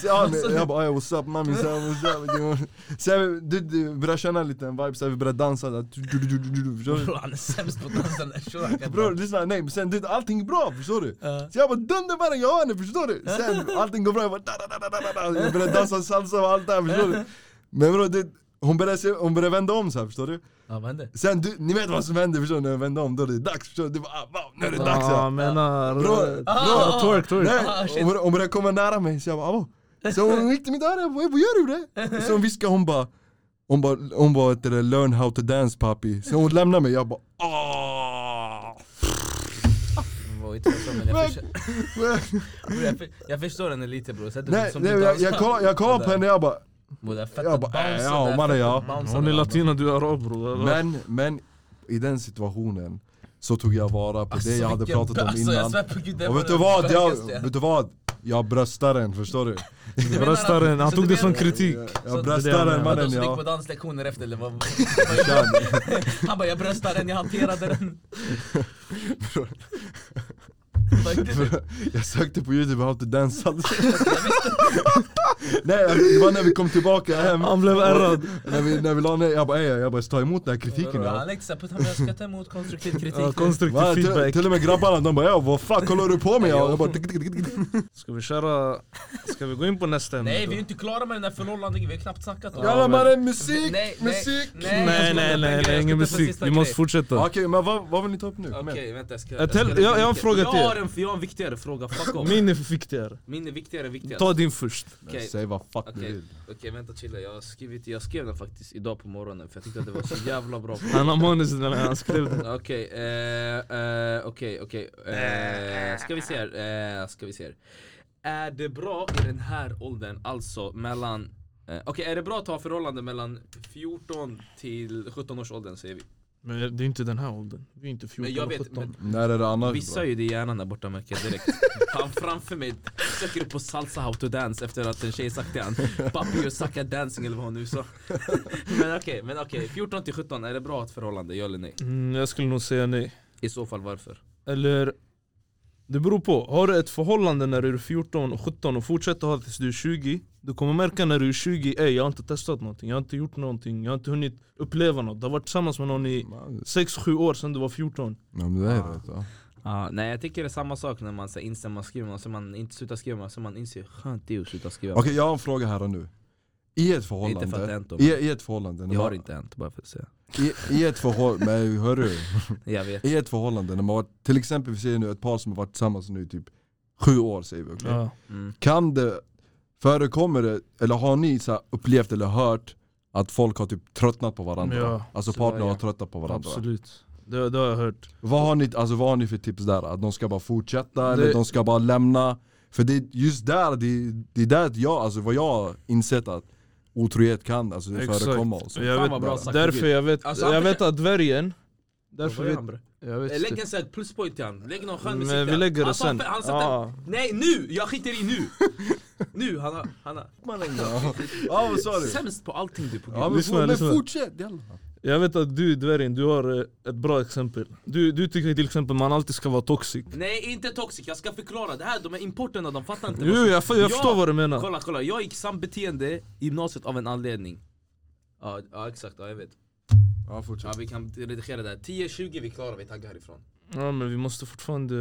Speaker 2: Så, ja, nej, Jag bara "Ah, what's up mami, så, här, what's up? Sen du, du började känna lite en vibe, sen vi började dansa där, Du, du, du, du, du, du, förstår
Speaker 4: <laughs>
Speaker 2: du?
Speaker 4: Bror han är sämst på dansen. Kör, han kan
Speaker 2: Bror
Speaker 4: dra.
Speaker 2: lyssna, nej men sen du, allting är bra förstår du?
Speaker 4: Ja.
Speaker 2: Så jag bara dunderbärren, jag har henne förstår du? Sen allting går bra, jag bara da, da, da, da, da, da. Jag började dansa salsa och allt det här förstår du? Men bror det, hon började, se, hon började vända om så här förstår du?
Speaker 4: Ja vad hände?
Speaker 2: Sen du, ni vet vad som händer förstår du? När jag vände om då är det dags förstår du? Det var ah, wow, nu är det dags
Speaker 3: Ja,
Speaker 2: ja.
Speaker 3: jag menar... Ah,
Speaker 2: Bro,
Speaker 4: bro.
Speaker 3: Twerk, twerk.
Speaker 2: Nej,
Speaker 4: Ah, shit.
Speaker 2: hon, började- hon började komma nära mig så jag bara ah, wow. Så hon gick till mitt öra, jag bara, vad gör du det? Så hon viskade hon bara hon bara, hon bara heter det, learn how to dance papi. Så hon lämnade mig, jag bara ah.
Speaker 4: Det var inte så men jag, förs-
Speaker 2: Men-
Speaker 4: bror, jag, för- jag förstår henne lite bror. Sättet
Speaker 2: Nej,
Speaker 4: som
Speaker 2: nej
Speaker 4: du
Speaker 2: jag,
Speaker 4: dansar.
Speaker 2: jag, kollade, jag kollade på henne och jag bara
Speaker 4: Bror, det där fettet
Speaker 2: Jag bara, äh,
Speaker 4: bounce,
Speaker 2: ja,
Speaker 4: det där
Speaker 2: mannen,
Speaker 4: fettet
Speaker 2: ja.
Speaker 4: bounce,
Speaker 3: Hon är
Speaker 4: det där.
Speaker 3: latina, du är arab bror.
Speaker 2: Men, men i den situationen så tog jag vara på
Speaker 4: Alltså,
Speaker 2: det jag hade
Speaker 4: vilken
Speaker 2: pratat om
Speaker 4: bös, alltså, jag
Speaker 2: innan.
Speaker 4: svär på Gud, det
Speaker 2: Och
Speaker 4: var
Speaker 2: vet
Speaker 4: det
Speaker 2: du vad? Jag,
Speaker 4: starkaste.
Speaker 2: vet du vad? Jag bröstar den, förstår du?
Speaker 4: menar
Speaker 3: Bröstar den,
Speaker 4: att-
Speaker 3: han
Speaker 4: så
Speaker 3: tog
Speaker 4: du
Speaker 3: det som
Speaker 4: menar-
Speaker 3: kritik.
Speaker 2: Jag
Speaker 3: det är
Speaker 2: bröstar
Speaker 3: det
Speaker 2: den
Speaker 3: jag
Speaker 4: Vadå,
Speaker 2: mannen,
Speaker 4: så du gick på
Speaker 2: ja.
Speaker 4: danslektioner efter eller? vad-
Speaker 2: Kör.
Speaker 4: Han bara jag bröstar den, jag hanterade den.
Speaker 2: Bror.
Speaker 4: Vad gjorde du?
Speaker 2: Jag sökte på youtube, how to dance Nej, alltså, det var när vi kom tillbaka hem.
Speaker 3: Han blev ärrad.
Speaker 2: När vi, när vi la ner, jag bara, ey, jag bara, ta emot den här kritiken. Ja.
Speaker 4: Han lekte såhär, putt han jag ska ta emot konstruktiv kritik.
Speaker 3: Ja,
Speaker 2: Va,
Speaker 3: Konstruktiv
Speaker 2: till,
Speaker 3: feedback.
Speaker 2: till och med grabbarna, de bara, ja, vad fan kollar du på mig? Ja, Jag bara, tick, tick, tick, tick.
Speaker 3: Ska vi köra... Ska vi gå in på nästa ämne?
Speaker 4: Nej
Speaker 3: då?
Speaker 4: vi är inte klara med den här förhållandet, vi har knappt snackat om
Speaker 2: Jalla
Speaker 3: men-
Speaker 2: mannen, musik,
Speaker 4: Nej, nej,
Speaker 2: musik!
Speaker 4: Nej, jag
Speaker 3: Nej
Speaker 4: ska ta
Speaker 3: nej nej,
Speaker 4: en grej,
Speaker 3: nej
Speaker 4: jag
Speaker 3: ingen
Speaker 4: ska ta
Speaker 3: musik.
Speaker 4: sista
Speaker 3: Vi
Speaker 4: grej.
Speaker 3: måste
Speaker 2: Okej,
Speaker 3: fortsätta.
Speaker 2: men vad, vad vill ni ta upp nu? Kom
Speaker 4: Okej
Speaker 2: igen.
Speaker 4: vänta jag ska...
Speaker 3: Jag täl- jag- jag har en fråga till
Speaker 4: Jag
Speaker 3: er.
Speaker 4: har en, jag har en viktigare fråga, fuck off.
Speaker 3: Min är viktigare.
Speaker 4: Min är viktigare än viktigast.
Speaker 3: Ta din först.
Speaker 4: Okej.
Speaker 2: Säg vad fuck du
Speaker 4: Okej,
Speaker 2: vill.
Speaker 4: okej, vänta chilla, jag, har skrivit, jag skrev den faktiskt idag på morgonen för jag tyckte att det var så jävla
Speaker 3: <laughs>
Speaker 4: bra
Speaker 3: Han har manus när han skrev den.
Speaker 4: Okej, eh, eh, okej, okej, eh, ska vi se här, eh, ska vi se här. Är det bra i den här åldern, alltså mellan, eh, okej är det bra att ha förhållande mellan 14 till 17 års åldern säger vi?
Speaker 3: Men det är inte den här åldern. Vi är inte 14
Speaker 4: Men jag
Speaker 3: och
Speaker 4: vet,
Speaker 3: 17.
Speaker 4: men-
Speaker 2: När är det annars
Speaker 4: Vissa är ju det i hjärnan där borta märker jag <laughs> direkt Han framför mig söker upp på salsa how to dance efter att en tjej sagt till han Papi you suck at dancing eller vad hon nu <laughs> sa Men okej, men okej 14 till 17, är det bra att förhållande, ja eller nej?
Speaker 3: Mm, jag skulle nog säga nej.
Speaker 4: I så fall varför?
Speaker 3: Eller det beror på. Har du ett förhållande när du är 14 och 17 och fortsätter ha det tills du är 20 Du kommer märka när du är 20, ey jag har inte testat någonting, jag har inte gjort någonting, jag har inte hunnit uppleva något Du har varit tillsammans med någon i
Speaker 2: Man-
Speaker 3: 6-7 år sedan du var 14
Speaker 2: Ja men det är rätt ja.
Speaker 4: Ja, nej jag tycker det är samma sak när man så här inser man skriver, och så man inte slutar skriva, och så man inser skönt det är att sluta skriva
Speaker 2: Okej jag har en fråga här och nu. I ett
Speaker 4: Det är Inte för att det har
Speaker 2: förhållande,
Speaker 4: hänt dem,
Speaker 2: i, i ett förhållande, när
Speaker 4: det har
Speaker 2: man,
Speaker 4: inte hänt bara för att säga
Speaker 2: i, i ett förhållande, men hörru.
Speaker 4: Jag vet
Speaker 2: I ett förhållande, när man varit, till exempel vi säger nu ett par som har varit tillsammans nu i typ sju år säger vi, okej?
Speaker 3: ja.
Speaker 4: mm.
Speaker 2: Kan det, förekommer det, eller har ni så här upplevt eller hört att folk har typ tröttnat på varandra?
Speaker 3: Ja.
Speaker 2: Alltså
Speaker 4: Så, ja.
Speaker 2: partner har tröttnat på varandra.
Speaker 3: Absolut, det, det har jag hört
Speaker 2: Vad har, ni, alltså vad har ni för tips där? Att de ska bara fortsätta eller
Speaker 3: Det-
Speaker 2: de ska bara lämna? För det är just där, det, det är där jag, alltså vad jag har insett att otrohet kan alltså det
Speaker 3: Exakt.
Speaker 2: förekomma och så.
Speaker 3: jag
Speaker 4: Fan vad
Speaker 3: vet,
Speaker 4: bra sagt
Speaker 3: Därför jag vet,
Speaker 4: Alltså, han
Speaker 3: jag vet
Speaker 4: försöker-
Speaker 3: att dvärgen Därför
Speaker 4: Vad gör
Speaker 3: vet,
Speaker 4: han, bre?
Speaker 3: jag vet
Speaker 4: Lägg
Speaker 3: inte.
Speaker 4: en sån här pluspoint till han, lägg någon skön musik
Speaker 3: Men vi
Speaker 4: där.
Speaker 3: lägger det
Speaker 4: Han sa
Speaker 3: sen
Speaker 4: fe- Han satte,
Speaker 3: ah.
Speaker 4: Nej nu! Jag skiter i nu! <laughs> nu, han har, han har <laughs>
Speaker 2: Ja vad sa du?
Speaker 4: sämst på allting du på gud
Speaker 2: Ja, men,
Speaker 3: Lyssna,
Speaker 2: for, men
Speaker 3: lyssna.
Speaker 2: fortsätt! jalla.
Speaker 3: Jag vet att du dvärgen, du har eh, ett bra exempel Du, du tycker till exempel man alltid ska vara toxic
Speaker 4: Nej inte toxic, jag ska förklara det här, de här importerna de fattar inte
Speaker 3: Jo
Speaker 4: som-
Speaker 3: jag, fa- jag förstår vad du menar
Speaker 4: Kolla kolla, jag gick sambeteende i gymnasiet av en anledning Ja, ja exakt, ja, jag vet
Speaker 2: Ja,
Speaker 4: Ja,
Speaker 2: fortsätt.
Speaker 4: vi kan redigera det här. 10-20 vi klarar, vi taggar härifrån.
Speaker 3: Ja men vi måste fortfarande,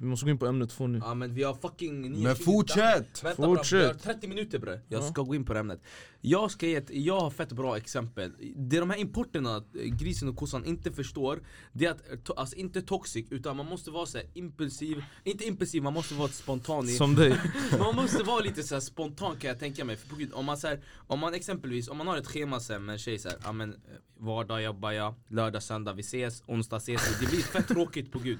Speaker 3: vi måste gå in på ämnet två nu
Speaker 4: Ja men vi har fucking 9,
Speaker 2: Men fortsätt!
Speaker 4: Vänta bra, vi har
Speaker 3: Fortsätt.
Speaker 4: 30 minuter bre. Jag
Speaker 3: Ja.
Speaker 4: ska gå in på det ämnet. Jag ska ge ett, jag har fett bra exempel. Det de här importerna, eh, grisen och kossan, inte förstår, det är att, eh, to, alltså inte toxic, utan man måste vara så här impulsiv, inte impulsiv, man måste vara spontan i
Speaker 3: Som dig
Speaker 4: Man måste vara lite så här spontan kan jag tänka mig. För på gud, om, man så här, om man exempelvis, om man har ett schema sen med en tjej såhär, ja men eh, vardag jobbar jag, lördag, söndag vi ses, onsdag ses vi. Det blir fett tråkigt på gud.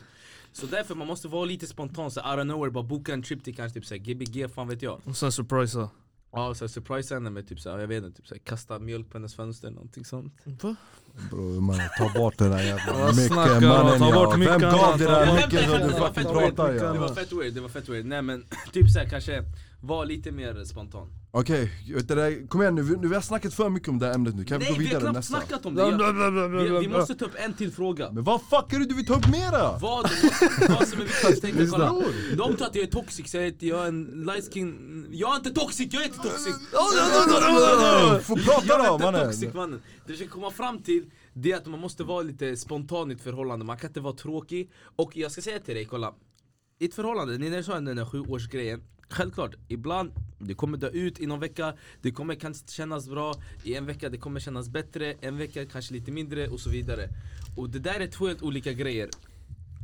Speaker 4: Så därför man måste vara lite spontan, så här, out of nowhere bara boka en trip till kanske typ såhär GBG, fan vet jag.
Speaker 3: Och sen surprisa
Speaker 4: Ja, så här, surprise henne med typ såhär, jag vet inte, typ såhär, kasta mjölk på hennes fönster någonting sånt.
Speaker 3: Va?
Speaker 2: Bror man, ta bort den där jävla
Speaker 3: Vad snackar
Speaker 2: micken
Speaker 3: du om?
Speaker 2: mannen
Speaker 3: Ta bort
Speaker 2: ja. Vem
Speaker 3: micken,
Speaker 2: gav dig
Speaker 3: ta
Speaker 2: den
Speaker 3: bort
Speaker 2: där micken som du
Speaker 4: Det var
Speaker 2: fucking
Speaker 4: fett
Speaker 2: pratar
Speaker 3: weird.
Speaker 4: Det var
Speaker 2: ja.
Speaker 4: fett weird, det var fett weird. Nej men <clears throat> typ såhär kanske, var lite mer spontan.
Speaker 2: Okej, vet du det- kom igen nu, vi, nu, vi har snackat för mycket om det här ämnet nu, kan vi
Speaker 4: Nej
Speaker 2: gå
Speaker 4: vi har
Speaker 2: vidare
Speaker 4: knappt
Speaker 2: nästa?
Speaker 4: snackat om det. Jag, vi, vi måste ta upp en till fråga.
Speaker 2: Men vad fuck är det du vill ta upp mera?
Speaker 4: Vad, vad som är viktigast, tänk dig, kolla.
Speaker 2: Lyssna.
Speaker 4: De tror att jag är toxic, så jag är, inte- jag är en light skin... Jag är inte toxic, jag är inte toxic!
Speaker 2: Får
Speaker 4: Jag
Speaker 2: prata
Speaker 4: är
Speaker 2: då
Speaker 4: inte
Speaker 2: mannen!
Speaker 4: toxic mannen! Det jag försöker komma fram till, det är att man måste vara lite spontan i ett förhållande, man kan inte vara tråkig Och jag ska säga till dig, kolla I ett förhållande, ni när jag sa den där sjuårsgrejen Självklart, ibland, det kommer dö ut i någon vecka Det kommer kanske inte kännas bra I en vecka, det kommer kännas bättre En vecka kanske lite mindre och så vidare Och det där är två helt olika grejer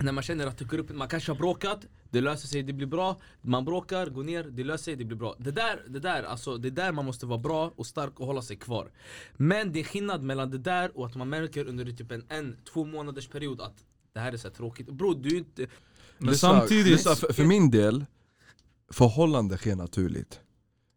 Speaker 4: när man känner att det går upp, man kanske har bråkat, det löser sig, det blir bra Man bråkar, går ner, det löser sig, det blir bra Det där, det där, alltså det är där man måste vara bra och stark och hålla sig kvar Men det är skillnad mellan det där och att man märker under typ en, en två månaders period att det här är så här tråkigt Bro, du är inte...
Speaker 3: Men
Speaker 2: Lyssna,
Speaker 3: samtidigt...
Speaker 2: lyssna, för, för min del, förhållande sker naturligt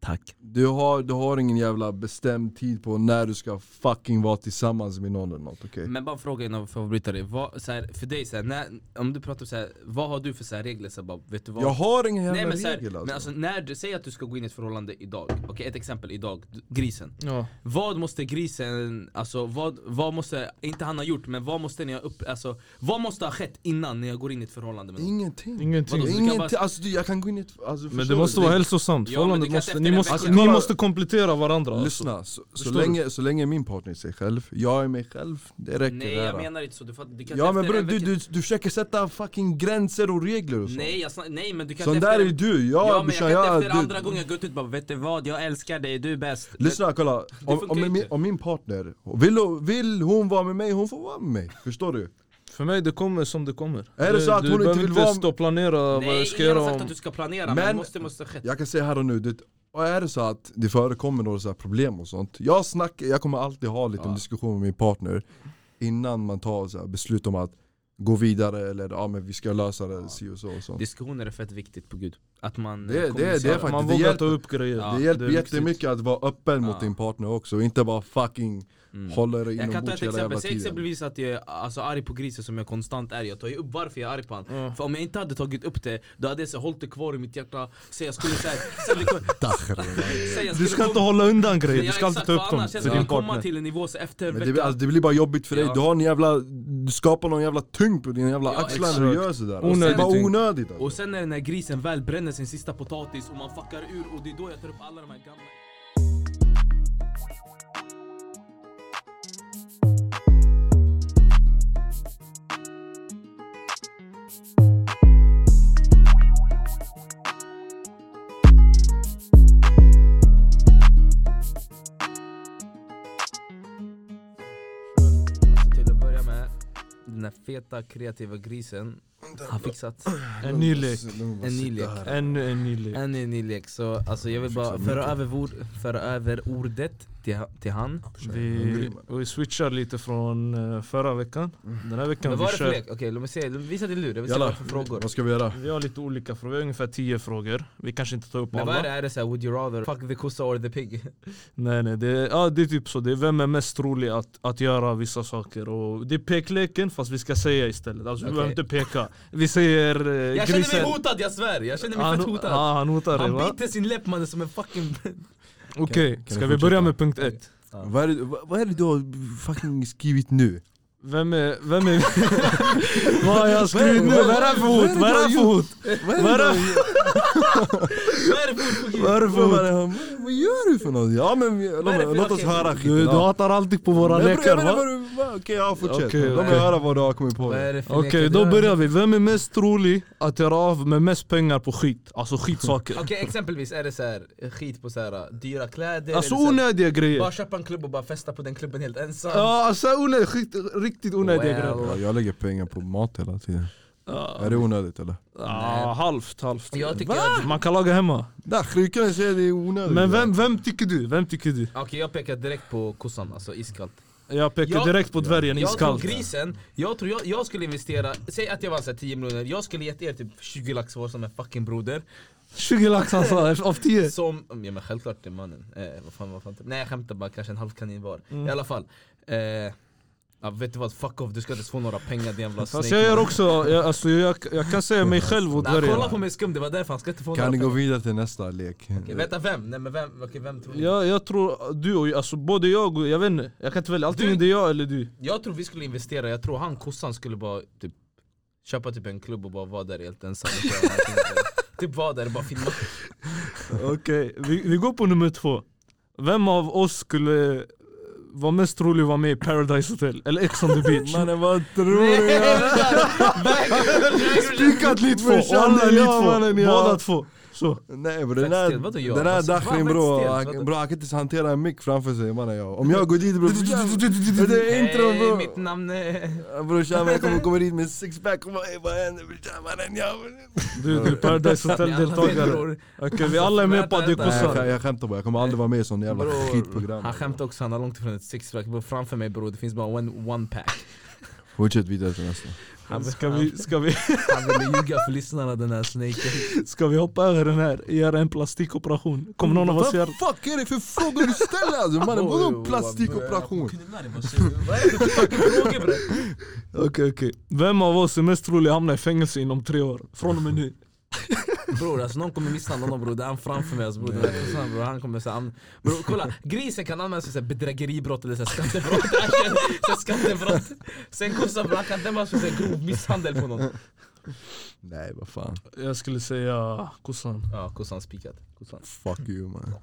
Speaker 4: Tack
Speaker 2: du har, du har ingen jävla bestämd tid på när du ska fucking vara tillsammans med någon eller något okej?
Speaker 4: Men bara en fråga innan jag får avbryta dig, vad, så här, för dig så här, när, om du pratar om så här, vad har du för så här regler? Så här, bara, vet du vad?
Speaker 2: Jag har ingen jävla
Speaker 4: Nej men, så här,
Speaker 2: regel alltså.
Speaker 4: men alltså när du säger att du ska gå in i ett förhållande idag, okej ett exempel idag, du- grisen
Speaker 3: Ja.
Speaker 4: Vad måste grisen, alltså vad, vad måste, inte han ha gjort men vad måste ni ha upp, alltså vad måste ha skett innan när jag går in i ett förhållande med någon?
Speaker 2: Ingenting.
Speaker 3: Ingenting.
Speaker 4: Vadå, så du kan
Speaker 2: Ingenting,
Speaker 4: bara-
Speaker 2: alltså du, jag kan gå in i ett, alltså,
Speaker 3: Men det
Speaker 2: förstår
Speaker 3: måste
Speaker 2: du?
Speaker 3: vara hälsosamt,
Speaker 4: Ja, men
Speaker 3: förhållandet
Speaker 4: det kan
Speaker 3: måste,
Speaker 4: efter
Speaker 3: ni,
Speaker 4: en
Speaker 3: måste,
Speaker 4: vecka-
Speaker 3: ni
Speaker 2: kolla-
Speaker 3: måste komplettera varandra alltså.
Speaker 2: Lyssna, så, så,
Speaker 3: Förstår du?
Speaker 2: länge, så länge min partner är sig själv, jag är mig själv, det räcker
Speaker 4: Nej
Speaker 2: det här.
Speaker 4: jag menar inte så, du fattar, du kan
Speaker 2: Ja
Speaker 4: inte
Speaker 2: men
Speaker 4: efter
Speaker 2: bror
Speaker 4: en
Speaker 2: du,
Speaker 4: vecka-
Speaker 2: du, du försöker sätta fucking gränser och regler och sånt
Speaker 4: Nej, jag snar, nej men du kan
Speaker 2: Sån
Speaker 4: inte
Speaker 2: där
Speaker 4: efter
Speaker 2: är du, jag,
Speaker 4: Ja men
Speaker 2: brorsan,
Speaker 4: jag kan
Speaker 2: jag-
Speaker 4: inte efter
Speaker 2: du-
Speaker 4: andra gången gå ut och bara vet du vad, jag älskar dig, du är bäst
Speaker 2: Lyssna, kolla. Om,
Speaker 4: funkar
Speaker 2: om, min,
Speaker 4: inte.
Speaker 2: om min partner, vill, vill hon vara med mig, hon får vara med mig. Förstår du?
Speaker 3: För mig det kommer som det kommer.
Speaker 2: Är det så att
Speaker 3: du
Speaker 2: hon inte
Speaker 3: behöver
Speaker 2: vill
Speaker 3: inte
Speaker 2: vara-
Speaker 3: stå och planera vad
Speaker 4: Nej
Speaker 3: jag ska
Speaker 4: ingen
Speaker 3: göra
Speaker 4: har sagt
Speaker 3: om...
Speaker 4: att du ska planera men,
Speaker 2: Men-
Speaker 4: det måste, måste ha skett
Speaker 2: Jag kan säga här och nu, det, och är det så att det förekommer några så här problem och sånt, jag, snackar, jag kommer alltid ha lite
Speaker 4: Ja.
Speaker 2: en diskussion med min partner innan man tar så här beslut om att gå vidare eller ja, men vi ska lösa det si och så och sånt.
Speaker 4: Diskussioner är fett viktigt på gud, att man
Speaker 2: Det-
Speaker 4: eh,
Speaker 2: det-
Speaker 4: kommunicerar.
Speaker 2: det är faktiskt-
Speaker 3: Man
Speaker 2: det
Speaker 3: vågar
Speaker 2: hjälper.
Speaker 3: ta upp grejer.
Speaker 4: Ja,
Speaker 2: Det hjälper
Speaker 3: det är viktigt.
Speaker 2: jättemycket att vara öppen mot
Speaker 4: Ja.
Speaker 2: din partner också, och inte bara fucking
Speaker 4: Mm.
Speaker 2: hålla dig
Speaker 4: Jag kan ta
Speaker 2: inombords
Speaker 4: ett
Speaker 2: hela jävla
Speaker 4: exempel, säg
Speaker 2: tiden.
Speaker 4: exempelvis att jag är alltså, arg på grisen som jag konstant är Jag tar ju upp varför jag är arg på han
Speaker 3: Ja.
Speaker 4: För om jag inte hade tagit upp det, då hade jag så, hållit det kvar i mitt hjärta Så jag skulle såhär, så vi kom- så jag skulle
Speaker 3: Du ska inte
Speaker 4: kom-
Speaker 3: hålla undan
Speaker 4: Ja,
Speaker 3: grejer, du ska alltid
Speaker 4: exakt,
Speaker 3: ta upp
Speaker 4: för
Speaker 3: dem
Speaker 4: Annars jag
Speaker 3: för
Speaker 4: skulle
Speaker 3: din
Speaker 4: komma
Speaker 3: partner.
Speaker 4: till en nivå så efter en
Speaker 2: Men det, blir-
Speaker 4: vecka
Speaker 2: alltså, det blir bara jobbigt för dig,
Speaker 4: Ja.
Speaker 2: du har en jävla, du skapar någon jävla tyngd på dina jävla
Speaker 4: Ja,
Speaker 2: axlar när
Speaker 4: exakt.
Speaker 2: du gör sådär
Speaker 3: Onödig
Speaker 2: Det är bara
Speaker 3: tyngd.
Speaker 2: onödigt alltså.
Speaker 4: Och sen när den här grisen väl bränner sin sista potatis och man fuckar ur och det är då jag tar upp alla de här gamla Alltså till att börja med, den här feta kreativa grisen har fixat
Speaker 3: En ny lek.
Speaker 4: En ny lek.
Speaker 3: Ännu en ny lek.
Speaker 4: en ny lek. Så alltså, jag vill bara
Speaker 2: Fixar
Speaker 4: föra över, ord, föra över ordet till, till han.
Speaker 3: Vi, vi switchar lite från eh, förra veckan. Den här veckan
Speaker 4: Men vad är det för
Speaker 3: vi kör...
Speaker 4: lek? Okej, låt mig se. Låt mig Visa din lur. Jag vill se vad det
Speaker 2: Jalla,
Speaker 4: är för frågor.
Speaker 2: vad ska vi göra?
Speaker 3: Vi har lite olika frågor, vi har ungefär 10 frågor. Vi kanske inte tar upp
Speaker 4: Men vad
Speaker 3: alla.
Speaker 4: är det? Är det såhär, would you rather fuck the kossa or the
Speaker 3: Eh,
Speaker 4: pig?
Speaker 3: Nej nej, det är, ja, det är typ så. Det är vem är mest trolig att, att göra vissa saker. Och det är pekleken fast vi ska säga istället. Alltså vi
Speaker 4: Okej.
Speaker 3: behöver inte peka. Vi säger eh,
Speaker 4: Jag
Speaker 3: grisen. Ah,
Speaker 4: känner mig hotad, jag svär! Jag känner mig
Speaker 3: han,
Speaker 4: fett hotad.
Speaker 3: Ja, han hotar dig
Speaker 4: Han
Speaker 3: va?
Speaker 4: biter sin läpp mannen som en fucking... <laughs>
Speaker 3: Okej,
Speaker 2: Kan- kan
Speaker 3: ska
Speaker 2: vi
Speaker 3: vi
Speaker 2: fortsätta?
Speaker 3: börja med punkt ett?
Speaker 2: Vad är, det, vad, vad är det du har fucking skrivit nu?
Speaker 3: Vem är... Vem är <laughs> vad har jag skrivit nu?
Speaker 2: Vad-
Speaker 3: Vad är det här för hot?
Speaker 2: vad-
Speaker 3: Vad är det här för hot?
Speaker 2: Vad
Speaker 3: Vad är det?
Speaker 4: Vad är det för
Speaker 2: Vad
Speaker 4: frågor?
Speaker 2: är det för vad, är det- vad gör du för något? Ja men vi- låt,
Speaker 4: är det för-
Speaker 2: mig- låt oss
Speaker 4: okej.
Speaker 2: höra skiten.
Speaker 3: Du, du
Speaker 2: ja.
Speaker 3: hatar alltid på våra
Speaker 2: Men bror,
Speaker 3: lekar
Speaker 2: jag menar vad
Speaker 3: va?
Speaker 2: du- va? Okej, ja fortsätt.
Speaker 3: Okej,
Speaker 2: Låt mig
Speaker 3: okej.
Speaker 2: höra vad du har kommit på.
Speaker 4: Vad är det för
Speaker 3: Okej,
Speaker 4: lekar du
Speaker 3: då
Speaker 4: har?
Speaker 3: börjar vi. Vem är mest trolig att göra av med mest pengar på skit? Alltså skitsaker.
Speaker 4: Okej, exempelvis är det så här eh, skit på så här dyra kläder
Speaker 3: Alltså
Speaker 4: eller så här-
Speaker 3: onödiga
Speaker 4: Bara
Speaker 3: grejer.
Speaker 4: köpa en klubb och bara festa på den klubben helt ensam.
Speaker 3: Ja, alltså onödiga, skit, riktigt onödiga
Speaker 4: Well.
Speaker 3: grejer.
Speaker 2: Ja, jag lägger pengar på mat hela tiden.
Speaker 3: Ja,
Speaker 2: Är det onödigt eller?
Speaker 3: ah, halvt, halvt.
Speaker 4: Jag tycker
Speaker 3: Va?
Speaker 4: att-
Speaker 3: Man kan laga hemma.
Speaker 2: Där, sjukan säger det är onödigt.
Speaker 3: Men vem, vem tycker du? Vem tycker du?
Speaker 4: Okej jag pekar direkt på kossan, alltså iskallt
Speaker 3: Jag pekar
Speaker 4: Jag-
Speaker 3: direkt på dvärgen
Speaker 4: Jag tror
Speaker 3: iskallt.
Speaker 4: grisen, jag tror jag, jag skulle investera, säg att jag vann så här 10 miljoner, jag skulle gett er typ 20 lax var som en fucking broder
Speaker 3: 20 lax han sa, av
Speaker 2: Eh.
Speaker 3: 10.
Speaker 4: Som, mm, ja men självklart det är mannen, eh, vad fan, vad fan Nej jag skämtar bara, kanske en halv kanin var
Speaker 2: Mm.
Speaker 4: I alla fall eh, ja, Vet du vad, fuck off, du ska inte ens få några pengar din jävla
Speaker 3: Fast
Speaker 4: snake
Speaker 3: jag gör
Speaker 4: man.
Speaker 3: också, jag, alltså, jag, jag kan säga mig själv och
Speaker 4: Nej, kolla på
Speaker 3: dvärgen.
Speaker 4: mig skum, det var därför han ska inte få
Speaker 2: Kan ni
Speaker 4: några
Speaker 2: gå
Speaker 4: pengar
Speaker 2: vidare till nästa lek?
Speaker 4: Okej, Vänta vem? Nej men vem, okej, vem tror ni? Jag...
Speaker 3: Jag, jag tror du och alltså både jag och, jag vet inte, jag kan inte välja, antingen
Speaker 4: Du-
Speaker 3: det är jag eller du.
Speaker 4: tror vi skulle investera, jag tror han kossan skulle bara typ Köpa typ en klubb och bara vara där helt
Speaker 3: <laughs>
Speaker 4: ensam och köra den här filmen. Typ vara där och bara filma
Speaker 3: <laughs> Okej, vi, vi går på nummer två. Vem av oss skulle eh, vara mest trolig att vara med i Paradise Hotel? Eller Ex on the beach?
Speaker 2: Mannen vad
Speaker 4: <laughs>
Speaker 2: tror du? Styckat lite
Speaker 3: Två, alla <laughs> ni två, båda två. Så.
Speaker 2: Nej bror den
Speaker 4: Fett stel, vadå
Speaker 2: här,
Speaker 4: jag?
Speaker 2: den här
Speaker 4: Alltså,
Speaker 2: Dahrin
Speaker 4: fan,
Speaker 2: bror,
Speaker 4: fett stel,
Speaker 2: han-
Speaker 4: vadå?
Speaker 2: bror han kan inte ens hantera en mick framför sig mannen jag Om jag går dit bror, det är intro
Speaker 4: Hej,
Speaker 2: bror
Speaker 4: mitt namn är...
Speaker 2: Brorsan jag kommer komma dit med sixpack och bara ey vad händer brorsan mannen jag
Speaker 3: Du, du är Paradise
Speaker 4: Ja,
Speaker 3: Hotel-deltagare.
Speaker 4: bror.
Speaker 3: Okej, vi alla är med på att det är
Speaker 2: Nej jag, skä-
Speaker 3: kossar.
Speaker 2: jag skämtar bara, jag kommer aldrig vara med i sån jävla
Speaker 4: Bror,
Speaker 2: skitprogram
Speaker 4: Han skämtar också, han har långt ifrån ett sixpack Bror, Framför mig bror, det finns bara one, one pack
Speaker 2: Fortsätt vidare till nästa
Speaker 4: Han,
Speaker 3: Ska vi, ska, vi, <laughs>
Speaker 4: han, han ville ljuga för lyssnarna den här snaken
Speaker 3: ska vi hoppa över den här? Göra en plastikoperation? Kommer någon av oss göra
Speaker 2: Vad fuck är det för frågor du ställer alltså mannen? Vadå plastikoperation?
Speaker 4: Vad är det för fucking frågor bre?
Speaker 3: Okej okej, vem av oss är mest trolig att hamna i fängelse inom tre år? Från och
Speaker 2: <laughs>
Speaker 3: med nu.
Speaker 4: Bror alltså någon kommer misshandla honom bror, det är han framför mig alltså, bror, den här kossan, bror han kommer såhär Bror kolla, grisen kan användas för så här bedrägeribrott eller så här skattebrott <laughs> Erkänn, så här skattebrott Sen kossan bror, han kan dömas för så här grov misshandel på någon
Speaker 2: Nej vad fan,
Speaker 3: Jag skulle säga kossan.
Speaker 4: Ja kossan spikat, kossan
Speaker 2: fuck you man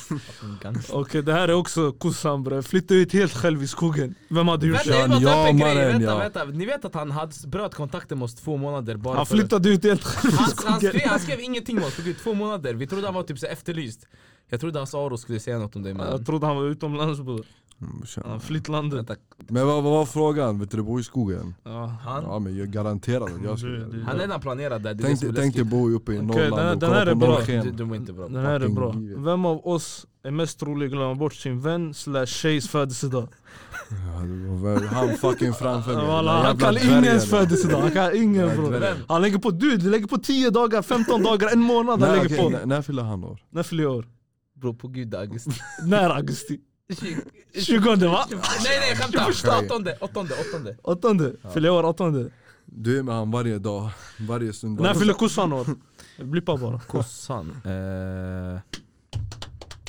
Speaker 4: fucking gangster
Speaker 3: Okej det här är också kossan bre, flytta ut helt själv i skogen. Vem hade gjort
Speaker 4: Vänta, jag
Speaker 3: det?
Speaker 4: vill bara ta upp en
Speaker 2: Ja,
Speaker 4: grej.
Speaker 2: mannen,
Speaker 4: Vänta,
Speaker 2: ja.
Speaker 4: vänta. Ni vet att han hade bröt kontakten med oss två månader bara
Speaker 3: Han
Speaker 4: för det.
Speaker 3: flyttade ut helt själv i
Speaker 4: Han, han,
Speaker 3: skogen.
Speaker 4: skrev, han skrev ingenting med oss på gud, två månader, vi trodde han var typ så här efterlyst Jag trodde hans aro skulle säga något om dig men
Speaker 3: Jag trodde han var utomlands bror.
Speaker 2: Mm, brorsan.
Speaker 3: Han flytt landet.
Speaker 4: vänta,
Speaker 2: Men vad, vad var frågan? Vet du det bor i skogen?
Speaker 3: Ja. Mm,
Speaker 4: han,
Speaker 2: Ja men jag garanterar att jag
Speaker 3: Du- du-
Speaker 2: skulle
Speaker 4: han är redan planerad där, det är det
Speaker 2: Tänk,
Speaker 4: som är
Speaker 2: dig- tänk dig
Speaker 4: läskigt
Speaker 2: bo uppe i
Speaker 3: Okej,
Speaker 2: Norrland
Speaker 3: den här-
Speaker 2: och
Speaker 3: den
Speaker 2: kolla
Speaker 3: här är
Speaker 2: på
Speaker 3: bra.
Speaker 4: du,
Speaker 2: norrsken
Speaker 4: du mår inte bra
Speaker 3: Den här är
Speaker 2: fucking
Speaker 3: bra.
Speaker 2: livet.
Speaker 3: Vem av oss är mest trolig att glömma bort sin vän slash tjejs födelsedag?
Speaker 2: Ja, det var väl- Han fucking framför mig
Speaker 3: Walla,
Speaker 2: Den där
Speaker 3: Han
Speaker 2: jävla
Speaker 3: kan
Speaker 2: dvärgen.
Speaker 3: ingens födelsedag, han kan ingen
Speaker 2: Nej,
Speaker 3: bror.
Speaker 2: dvärgen.
Speaker 4: Vem?
Speaker 3: Han lägger på, du du lägger på 10 dagar, 15 dagar, en månad han
Speaker 2: Nej,
Speaker 3: lägger
Speaker 2: okej,
Speaker 3: på.
Speaker 2: när- När fyller han år?
Speaker 3: När fyller jag år?
Speaker 4: Bro på gud
Speaker 2: <laughs>
Speaker 4: August
Speaker 3: När augusti?
Speaker 4: Tjugo-
Speaker 3: 20 va?
Speaker 4: Nej nej jag skämtar! Åttonde, åttonde, åttonde
Speaker 3: Åttonde? Fyller jag år åttonde?
Speaker 2: Du är med han varje dag, <laughs> varje stund
Speaker 3: När fyller kossan år? Blippa bara.
Speaker 4: Kossan, eh,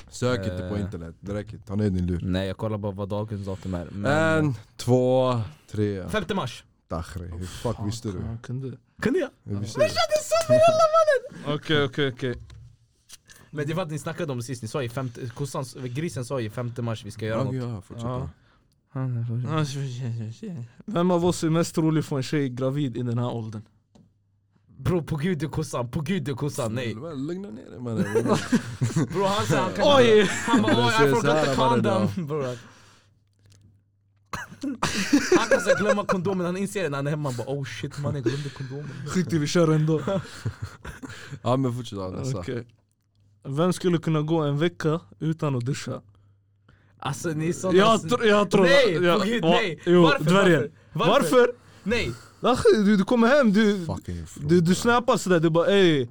Speaker 2: Sök inte på
Speaker 4: Eh.
Speaker 2: internet, det räcker Ta ner din lur
Speaker 4: nej jag kollar bara vad dagens datum är men...
Speaker 2: En, två, tre
Speaker 4: Femte mars!
Speaker 2: Dakhri, hur fuck visste du?
Speaker 3: Fan, kunde.
Speaker 4: Kunde jag?
Speaker 2: Hur visste du?
Speaker 3: Okej okej okej.
Speaker 4: Men det var att ni snackade om det sist, ni sa ju femte, kossan, grisen sa ju femte mars vi ska göra
Speaker 2: Ja,
Speaker 4: något
Speaker 2: ja,
Speaker 3: Ja.
Speaker 2: fortsätt
Speaker 3: Vem av oss är mest trolig att få en tjej gravid i den här åldern?
Speaker 4: Bro på gud du kossan, på gud du kossan, nej
Speaker 2: Lugna ner dig
Speaker 3: <laughs>
Speaker 2: mannen
Speaker 4: Bro han sa han kan
Speaker 3: Oj!
Speaker 4: Han bara
Speaker 2: Det
Speaker 4: oj
Speaker 2: ser
Speaker 4: I
Speaker 2: så här
Speaker 4: forgot the
Speaker 2: varje dag.
Speaker 4: condom bro. <laughs> Han kan såhär glömma kondomen, han inser det när han är hemma han bara oh shit man jag glömde kondomen
Speaker 3: Skit i vi kör ändå.
Speaker 2: Ja men fortsätt ja, nästa
Speaker 3: Okej. Vem skulle kunna gå en vecka utan att duscha?
Speaker 4: Alltså ni är såna
Speaker 3: Jag, tr- jag tror...
Speaker 4: Nej!
Speaker 3: jag,
Speaker 4: på gud,
Speaker 3: va-
Speaker 4: nej!
Speaker 3: Jo,
Speaker 4: varför,
Speaker 3: dvärgen.
Speaker 4: varför?
Speaker 3: Varför?
Speaker 4: Nej!
Speaker 3: Ach, Du, du kommer hem, du,
Speaker 2: Fucking
Speaker 3: du,
Speaker 2: fråga
Speaker 3: du snappar sådär, du bara ey.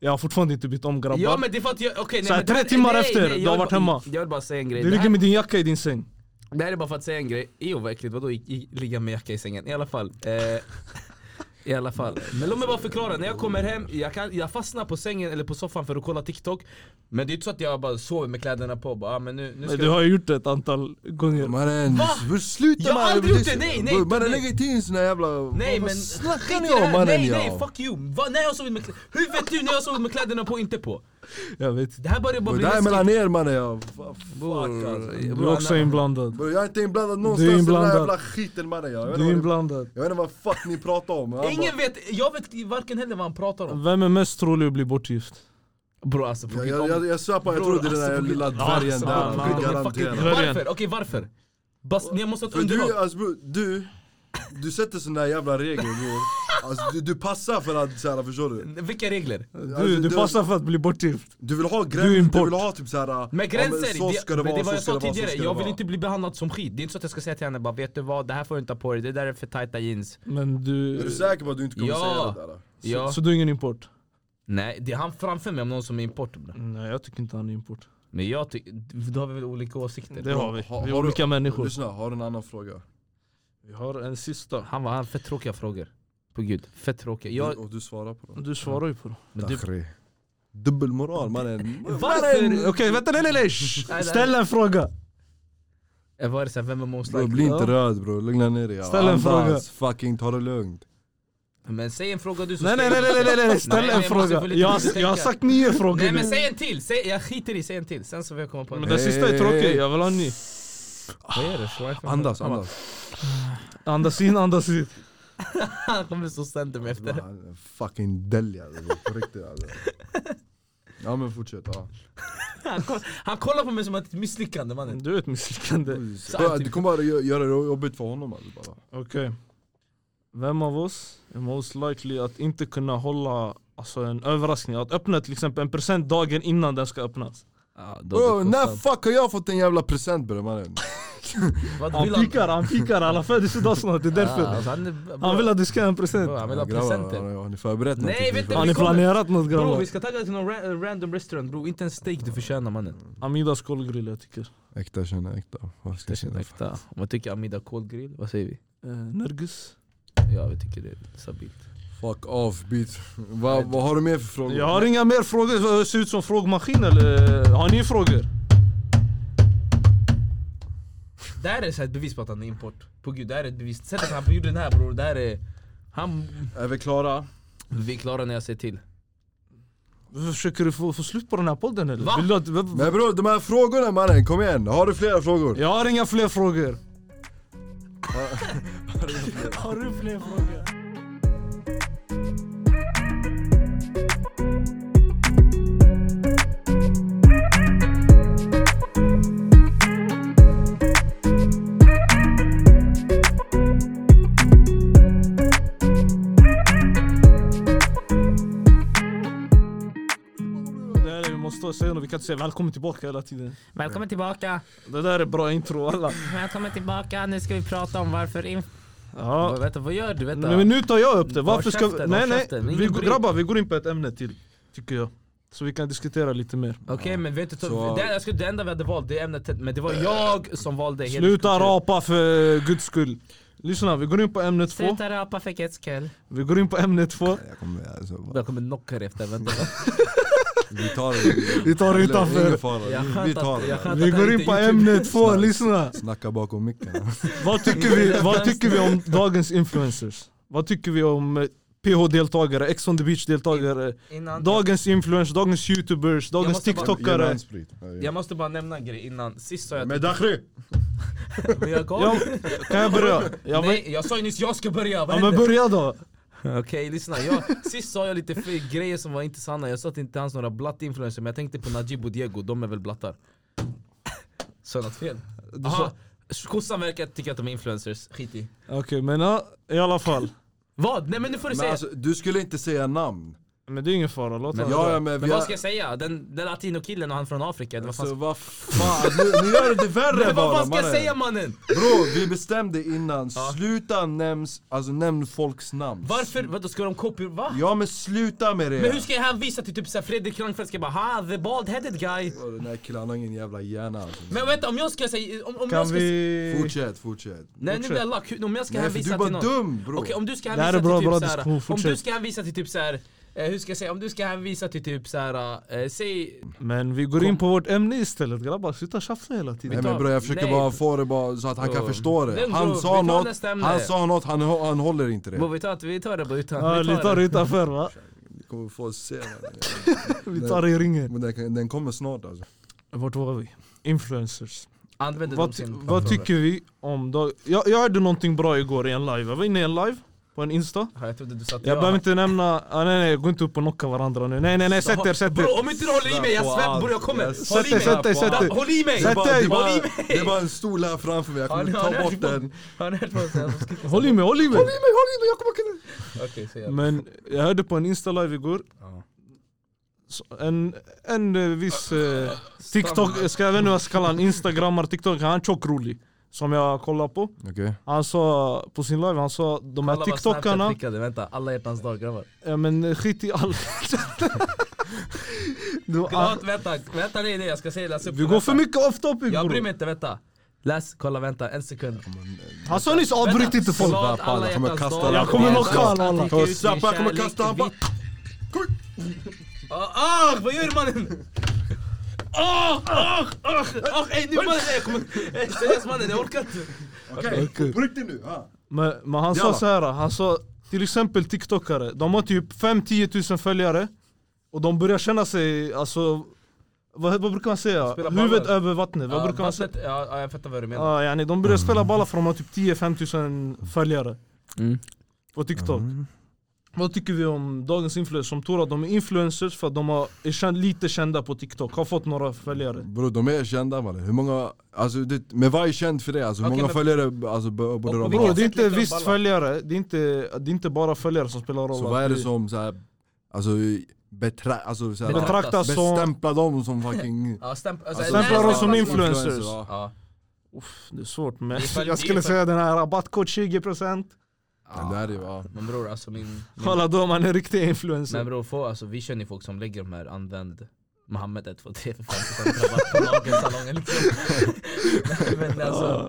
Speaker 3: Jag har fortfarande inte bytt om grabbar.
Speaker 4: Ja men det är för att jag, okej
Speaker 3: Så här,
Speaker 4: men-
Speaker 3: tre timmar
Speaker 4: nej,
Speaker 3: efter,
Speaker 4: nej,
Speaker 3: du
Speaker 4: jag
Speaker 3: har
Speaker 4: vill
Speaker 3: varit
Speaker 4: bara-
Speaker 3: hemma.
Speaker 4: Jag vill bara säga en grej
Speaker 3: Du
Speaker 4: Det här-
Speaker 3: ligger med din jacka i din säng.
Speaker 4: Det här är bara för att säga en grej, jo verkligt vadå i- i- ligga med jacka i sängen? I alla fall eh, I alla fall, men låt mig bara förklara, när jag kommer hem, jag, kan, jag fastnar på sängen eller på soffan för att kolla TikTok Men det är inte så att jag bara sover med kläderna på och bara, ah, men nu, nu ska
Speaker 3: Men du har ju gjort det ett antal gånger.
Speaker 2: Mannen,
Speaker 4: Va?
Speaker 2: hur- sluta
Speaker 4: Jag har
Speaker 2: mannen.
Speaker 4: aldrig gjort det, nej, nej,
Speaker 2: Mannen
Speaker 4: nej.
Speaker 2: lägg inte in såna jävla...
Speaker 4: Nej
Speaker 2: vad
Speaker 4: men
Speaker 2: snackar
Speaker 4: skit i
Speaker 2: ni
Speaker 4: det
Speaker 2: om
Speaker 4: här.
Speaker 2: mannen
Speaker 4: Nej
Speaker 2: ja?
Speaker 4: nej fuck you! Va, när jag har sovit med kläderna Hur vet du när jag har sovit med kläderna på och inte på?
Speaker 3: Jag vet.
Speaker 4: Det här börjar bara
Speaker 2: Bror,
Speaker 4: bli
Speaker 2: Det här är
Speaker 4: läskigt
Speaker 2: mellan er mannen ja, Va-
Speaker 4: Bror,
Speaker 2: fuck alltså
Speaker 3: Du
Speaker 4: bror,
Speaker 3: är också
Speaker 4: Anna-
Speaker 3: inblandad.
Speaker 2: Bror jag är inte inblandad någonstans i den här
Speaker 3: inblandad.
Speaker 2: jävla skiten mannen ja. jag
Speaker 3: Du är
Speaker 2: vet inte vad ni-
Speaker 3: inblandad.
Speaker 2: Jag vet inte vad fuck ni pratar om Jag
Speaker 4: Ingen vet, jag vet varken heller vad han pratar om
Speaker 3: Vem är mest trolig att bli bortgift?
Speaker 4: Bror alltså på
Speaker 2: bara-
Speaker 4: gud,
Speaker 2: Jag,
Speaker 4: om-
Speaker 2: jag, jag svär på jag
Speaker 4: Bror,
Speaker 2: tror det är den där
Speaker 4: alltså,
Speaker 2: lilla
Speaker 3: alltså,
Speaker 2: dvärgen där,
Speaker 3: alltså,
Speaker 2: jag kan
Speaker 3: fucking-
Speaker 2: garantera
Speaker 3: Dvärgen.
Speaker 4: Varför? Okej varför? Bas, ni måste ha ett
Speaker 2: För
Speaker 4: underlag
Speaker 2: du, alltså bror, du, du sätter såna där jävla regler bror Alltså, du, du passar för att såhär, förstår du?
Speaker 4: Vilka regler?
Speaker 3: Du, du passar för att bli bortgift.
Speaker 2: Du vill ha
Speaker 3: Du är
Speaker 2: gränser, du
Speaker 3: import.
Speaker 2: vill ha typ såhär...
Speaker 4: Men gränser,
Speaker 2: så ska det
Speaker 4: men
Speaker 2: vara,
Speaker 4: det var
Speaker 2: så
Speaker 4: jag
Speaker 2: ska
Speaker 4: sa
Speaker 2: det vara, så
Speaker 4: tidigare,
Speaker 2: ska det
Speaker 4: jag vill
Speaker 2: vara.
Speaker 4: inte bli behandlad som skit. Det är inte så att jag ska säga till henne bara vet du vad, det här får du inte ha på dig, det där är för tajta jeans.
Speaker 3: Men
Speaker 2: Är
Speaker 3: du...
Speaker 2: du säker på att du inte kommer
Speaker 4: Ja.
Speaker 2: säga det där?
Speaker 4: Ja.
Speaker 3: Så, så du är ingen import?
Speaker 4: Nej, det är han framför mig om någon som är import. bro.
Speaker 3: Nej jag tycker inte han är import.
Speaker 4: Men jag tycker, då har vi väl olika åsikter.
Speaker 3: Det har vi.
Speaker 2: Har-
Speaker 3: Vi är
Speaker 2: har du-
Speaker 3: olika människor.
Speaker 2: Lyssna, har du en annan fråga?
Speaker 3: Vi har en sista.
Speaker 4: Han var han fett tråkiga frågor. På gud, fett tråkiga.
Speaker 2: Du,
Speaker 4: Jag,
Speaker 2: och du svarar på den.
Speaker 3: Du svarar ju på det.
Speaker 4: men du,
Speaker 2: Dubbelmoral mannen.
Speaker 4: varför?
Speaker 3: Okej vänta nej nej nej!
Speaker 4: nej.
Speaker 3: Shh. Ställ en fråga!
Speaker 4: Jag var så här, vem är most
Speaker 2: Bro,
Speaker 4: likely?
Speaker 2: bli
Speaker 3: Ja.
Speaker 2: inte röd bro, lugna ner dig.
Speaker 3: Ställ en fråga.
Speaker 2: fucking ta det lugnt.
Speaker 4: Men säg en fråga du så
Speaker 3: Nej
Speaker 4: ska
Speaker 3: nej
Speaker 4: jag-
Speaker 3: nej nej nej, nej nej,
Speaker 4: Nej,
Speaker 3: ställ
Speaker 4: men
Speaker 3: en
Speaker 4: jag måste
Speaker 3: fråga!
Speaker 4: få lite
Speaker 3: Jag,
Speaker 4: tid
Speaker 3: har-
Speaker 4: att
Speaker 3: jag har
Speaker 4: tänka.
Speaker 3: sagt nio frågor
Speaker 4: Nej men
Speaker 3: nu.
Speaker 4: säg en till! Säg, jag skiter i, säg en till. Sen så får jag komma på
Speaker 3: Men
Speaker 4: en.
Speaker 3: den sista är tråkig, jag vill ha en ny.
Speaker 4: Vad är det? Schweifen?
Speaker 2: Andas, andas.
Speaker 3: Andas in, andas ut.
Speaker 4: Han kommer stå center mig efter.
Speaker 2: Han är Fucking dälja bro, på riktigt alltså. Ja men fortsätt. Ja.
Speaker 4: Han, koll, han kollar på mig som att Mm, ett misslyckande mannen.
Speaker 3: Du är ett misslyckande.
Speaker 2: Bro, Du kommer bara gö- göra det jobbigt för honom alltså. Bara.
Speaker 3: Okej. Vem av oss är most likely att inte kunna hålla alltså, en överraskning? Att öppna till exempel en present dagen innan den ska öppnas.
Speaker 4: Ja,
Speaker 2: Bro, när fuck har jag fått en jävla present bre mannen?
Speaker 4: Vad
Speaker 3: Han
Speaker 4: vill han?
Speaker 3: fikar, han fikar alla födelsedagar snart, det är
Speaker 4: Ah,
Speaker 3: därför.
Speaker 4: alltså, han, är-
Speaker 3: Han vill att du ska ha en present.
Speaker 4: Bro, han vill ha
Speaker 2: Grabbar,
Speaker 4: presenter.
Speaker 2: har, har ni förberett
Speaker 4: Nej,
Speaker 2: någonting?
Speaker 4: vet du-
Speaker 3: Har
Speaker 4: vi
Speaker 3: ni
Speaker 4: kommer-
Speaker 3: planerat något
Speaker 4: Bro
Speaker 3: grabbar?
Speaker 4: vi ska tagga till någon ra- eh, random restaurant bro, inte en steak du förtjänar mannen.
Speaker 3: Amidas kolgrill jag tycker.
Speaker 2: Äkta känner äkta. Vad ska jag känna?
Speaker 4: Ursäkta, om man tycker amida kolgrill, vad säger vi?
Speaker 3: Eh, Nergis?
Speaker 4: Ja vi tycker det är stabilt.
Speaker 2: Fuck off bitch. Va, vad har du mer för frågor?
Speaker 3: Jag har inga mer frågor, det ser ut som frågmaskin eller? eh, Har ni frågor?
Speaker 4: Det här är så här ett bevis på att han är import. På gud, det här är ett bevis. Sättet han gjorde den här bror, det här är... Han...
Speaker 2: Är vi klara?
Speaker 4: Vi klarar när jag säger till.
Speaker 3: Försöker du få, få slut på den här podden eller?
Speaker 4: Va?
Speaker 3: Vill du att, v-
Speaker 2: Men bror de här frågorna mannen, kom igen. Har du flera frågor?
Speaker 3: Jag har inga fler frågor. har du fler frågor? Nej, nej, vi måste säga något. Vi kan inte säga välkommen tillbaka hela tiden.
Speaker 5: Välkommen tillbaka!
Speaker 3: Det där är bra intro alla.
Speaker 5: Välkommen tillbaka! Nu ska vi prata om varför... Inf-
Speaker 3: Ja.
Speaker 4: Vänta, vad gör du? Vänta.
Speaker 3: Nej, men nu tar jag upp det.
Speaker 4: Ta
Speaker 3: Varför ska vi...
Speaker 4: käften,
Speaker 3: Nej
Speaker 4: ta
Speaker 3: nej,
Speaker 4: käften.
Speaker 3: vi,
Speaker 4: Ingen bryr-
Speaker 3: grabbar vi går in på ett ämne till. Tycker jag. Så vi kan diskutera lite mer.
Speaker 4: Okej men vi har inte tagit...
Speaker 2: Så-
Speaker 4: Det, jag skulle, det enda vi hade valt, det är ämnet men det var jag som valde hela-
Speaker 3: Sluta rapa för guds skull. Lyssna, vi går in på ämne två.
Speaker 5: Sluta rapa för guds skull.
Speaker 3: Vi går in på ämne två.
Speaker 2: Jag kommer, alltså, va.
Speaker 4: Jag kommer knocka dig
Speaker 5: <laughs>
Speaker 4: efter, vänta.
Speaker 2: Vi tar det.
Speaker 3: Vi tar det utanför.
Speaker 2: Ingen fara,
Speaker 4: Jag
Speaker 2: vi, vi
Speaker 4: skönt
Speaker 2: tar
Speaker 4: att- jag
Speaker 2: det.
Speaker 4: skönt
Speaker 3: Vi
Speaker 4: att
Speaker 3: går
Speaker 4: jag
Speaker 3: in
Speaker 4: inte
Speaker 3: på
Speaker 4: är
Speaker 3: ämne två, lyssna.
Speaker 2: Snacka bakom micken.
Speaker 3: Vad tycker vi, vad tycker vi om dagens influencers? Vad tycker vi om eh, PH-deltagare, Ex on the beach-deltagare,
Speaker 4: Innan,
Speaker 3: dagens influencers, dagens youtubers, dagens
Speaker 4: måste bara-
Speaker 3: tiktokare?
Speaker 4: jag måste bara nämna en grej innan. Sist sa jag
Speaker 2: Men Dakhri!
Speaker 4: att jag gav...
Speaker 3: Ja, kan jag börja? Jag vet,
Speaker 4: Nej, jag sa ju nyss jag ska börja, vad
Speaker 3: ja men
Speaker 4: händer?
Speaker 3: börja då!
Speaker 4: Okej lyssna, jag, sist sa jag lite f- grejer som var inte sanna, jag sa att det inte fanns några blatt-influencers men jag tänkte på Najib och Diego, de är väl blattar? <laughs> Sa jag något fel?
Speaker 3: Du
Speaker 4: Aha,
Speaker 3: sa-
Speaker 4: kossan verkar tycka att de är influencers, skit i
Speaker 3: Okej men ja, i alla fall.
Speaker 4: Vad? Nej men nu får du
Speaker 2: Men
Speaker 4: säga!
Speaker 2: alltså, du skulle inte säga namn.
Speaker 3: Men det är ingen fara, låt
Speaker 2: Men,
Speaker 3: honom.
Speaker 2: ja, ja, men,
Speaker 4: men
Speaker 2: vi
Speaker 4: vad
Speaker 2: har,
Speaker 4: ska jag säga? Den, den latinokillen och han från Afrika, eller vad fan
Speaker 2: alltså,
Speaker 4: ska,
Speaker 2: vad fan, nu, nu gör du det
Speaker 4: <laughs>
Speaker 2: värre
Speaker 4: men vad
Speaker 2: bara
Speaker 4: fan ska jag
Speaker 2: mannen.
Speaker 4: säga mannen?
Speaker 2: Bro, vi bestämde innan, sluta nämns, alltså nämn folks namn.
Speaker 4: Varför? Vadå ska de copy? Va?
Speaker 2: Ja men sluta med det!
Speaker 4: Men hur ska jag hänvisa till typ såhär Fredrik Reinfeldt ska bara ha the bald headed guy
Speaker 2: Bro, Den här killen har ingen jävla hjärna alltså.
Speaker 4: Men vänta om jag ska säga, om, om jag
Speaker 3: Kan
Speaker 4: ska
Speaker 3: vi...
Speaker 2: Fortsätt, fortsätt.
Speaker 4: Nej nu blir jag lack, Hur- om jag ska
Speaker 2: Nej för
Speaker 4: hänvisa
Speaker 2: du
Speaker 4: till
Speaker 2: är
Speaker 4: någon
Speaker 2: bara dum bror.
Speaker 4: Okej om du ska
Speaker 3: här
Speaker 4: hänvisa
Speaker 3: är bra,
Speaker 4: till
Speaker 3: bra
Speaker 4: typ såhär,
Speaker 3: diskussion,
Speaker 4: om du
Speaker 3: fortsätt.
Speaker 4: ska hänvisa till typ såhär, eh, hur ska jag säga, om du ska hänvisa till typ såhär, eh, säg...
Speaker 3: Men vi går in på vårt ämne istället grabbar, sluta tjafsa hela
Speaker 2: Nej
Speaker 3: tiden.
Speaker 2: men bror jag försöker
Speaker 4: Nej.
Speaker 2: bara få det bara så att han kan
Speaker 4: Bro.
Speaker 2: förstå det.
Speaker 4: Lugn,
Speaker 2: Han
Speaker 4: bror.
Speaker 2: sa
Speaker 4: Vi tar
Speaker 2: något,
Speaker 4: nästa ämne.
Speaker 2: han sa något, han, hå- han håller inte
Speaker 4: Bo,
Speaker 2: det.
Speaker 4: vi tar, vi tar det bara utan,
Speaker 3: Ja, vi tar det utanför va?
Speaker 2: Vi kommer få se den.
Speaker 3: Vi tar det i ringen.
Speaker 2: Men den, kan- den kommer snart alltså.
Speaker 3: Vart var vi? Influencers.
Speaker 4: Använder
Speaker 3: Vad,
Speaker 4: de
Speaker 3: ty-
Speaker 4: sin
Speaker 3: vad tycker vi om... Dag- jag, jag hörde någonting bra igår i en live, jag var inne i en live på på en insta.
Speaker 4: Ja, Jag trodde du sa att
Speaker 3: Jag behöver inte nämna, ah, nej nej gå inte upp och knocka varandra nu. Nej nej nej sätt er, sätt er.
Speaker 1: Bro, om inte du håller i mig, jag svär bror jag kommer! Håll
Speaker 3: Sätt
Speaker 1: i
Speaker 3: dig,
Speaker 1: mig!
Speaker 3: sätt dig, sätt
Speaker 1: Da-
Speaker 3: dig.
Speaker 1: Håll i mig!
Speaker 3: Sätt dig!
Speaker 1: Håll i mig!
Speaker 2: Det var en stol här framför mig, jag
Speaker 4: Har ni-
Speaker 2: kommer
Speaker 4: har ni
Speaker 2: ta bort
Speaker 4: hört på-
Speaker 2: den
Speaker 4: Har ni hört vad jag säger?
Speaker 3: Håll i mig, håll i mig!
Speaker 4: Okej, så jävla-
Speaker 3: Men jag hörde på en insta live igår.
Speaker 4: Ja.
Speaker 3: Så En, en eh, viss eh, TikTok, jag ska jag vet inte vad jag ska kalla han, instagrammar, TikTok, han är tjock rolig. Som jag kollar på.
Speaker 2: Okej,
Speaker 3: Han sa på sin live, han sa de
Speaker 4: Kolla
Speaker 3: här
Speaker 4: vad Snapchat
Speaker 3: TikTokarna,
Speaker 4: skickade, vänta, alla hjärtans dag grabbar.
Speaker 3: ja, men skit
Speaker 4: <laughs>
Speaker 3: i allt. Du, ah,
Speaker 4: Glad, vänta, vänta nej nej jag ska säga läs upp
Speaker 3: vi
Speaker 4: det,
Speaker 3: går
Speaker 4: vänta.
Speaker 3: för mycket off topic
Speaker 4: Jag bryr
Speaker 3: bror.
Speaker 4: mig inte, vänta. Läs, kolla, vänta, en sekund.
Speaker 3: Han sa nyss avbryt inte folk.
Speaker 4: Glad
Speaker 2: Fan,
Speaker 4: alla
Speaker 2: jag kommer
Speaker 4: hjärtans
Speaker 2: kasta
Speaker 4: dag.
Speaker 2: den.
Speaker 3: Jag kommer knocka alla. alla.
Speaker 6: Kommer
Speaker 2: snabbt, jag kommer kasta han bara-
Speaker 4: Ah, ah, vad gör mannen? Ah, ah, ah, ah, ey nu mannen, ey, jag kommer- ey, seriöst mannen jag orkar inte.
Speaker 2: okej, på riktigt nu! ja.
Speaker 3: Men, men han sa
Speaker 2: Jalla.
Speaker 3: så här, han sa till exempel tiktokare, de har typ 5-10 tusen följare och de börjar känna sig, alltså vad, vad brukar man säga?
Speaker 4: Spela ballar.
Speaker 3: Huvudet över vattnet, vad
Speaker 4: Ja,
Speaker 3: brukar man säga?
Speaker 4: vattnet- ja, ja, jag fattar vad du menar.
Speaker 3: Ja, yani, de börjar spela balla för de har typ 10-5 tusen följare
Speaker 4: Mm.
Speaker 3: på tiktok Vad tycker vi om dagens influencers som tror att de är influencers för att de har, är känd, lite kända på tiktok, har fått några följare
Speaker 2: Bror de är kända mannen, hur många, alltså det, men vad är känd för det? Alltså hur
Speaker 4: Okej, men-
Speaker 2: många följare alltså, b- borde
Speaker 4: Och- och
Speaker 2: de
Speaker 4: vilket-
Speaker 2: ha?
Speaker 3: Bro, det är inte
Speaker 4: lite
Speaker 3: visst
Speaker 4: balla.
Speaker 3: följare, det är inte, det är inte bara följare som spelar roll
Speaker 2: Så vad är det
Speaker 3: Vi
Speaker 2: som såhär, alltså, betra, alltså så här,
Speaker 4: Betra-
Speaker 3: Betraktas som...
Speaker 2: bestämpla dem som fucking...
Speaker 4: Ja, stämp- <laughs> alltså,
Speaker 3: Stämplar
Speaker 4: nej,
Speaker 3: oss som
Speaker 4: stämplas-
Speaker 3: influencer. influencers.
Speaker 2: ja.
Speaker 4: Ja.
Speaker 3: Uff, det är svårt men
Speaker 4: Det är för-
Speaker 3: jag
Speaker 4: det är
Speaker 3: skulle
Speaker 4: för-
Speaker 3: säga den här rabattkod 20%
Speaker 2: Ja, Det är det ju, ja.
Speaker 4: Men bror alltså min... min
Speaker 3: Kolla då man är riktig influencer
Speaker 4: men bror få, alltså, vi känner ju folk som lägger de här använd Mohammed 123 för 50% rabatt på nagelsalongen liksom. Nej, men alltså,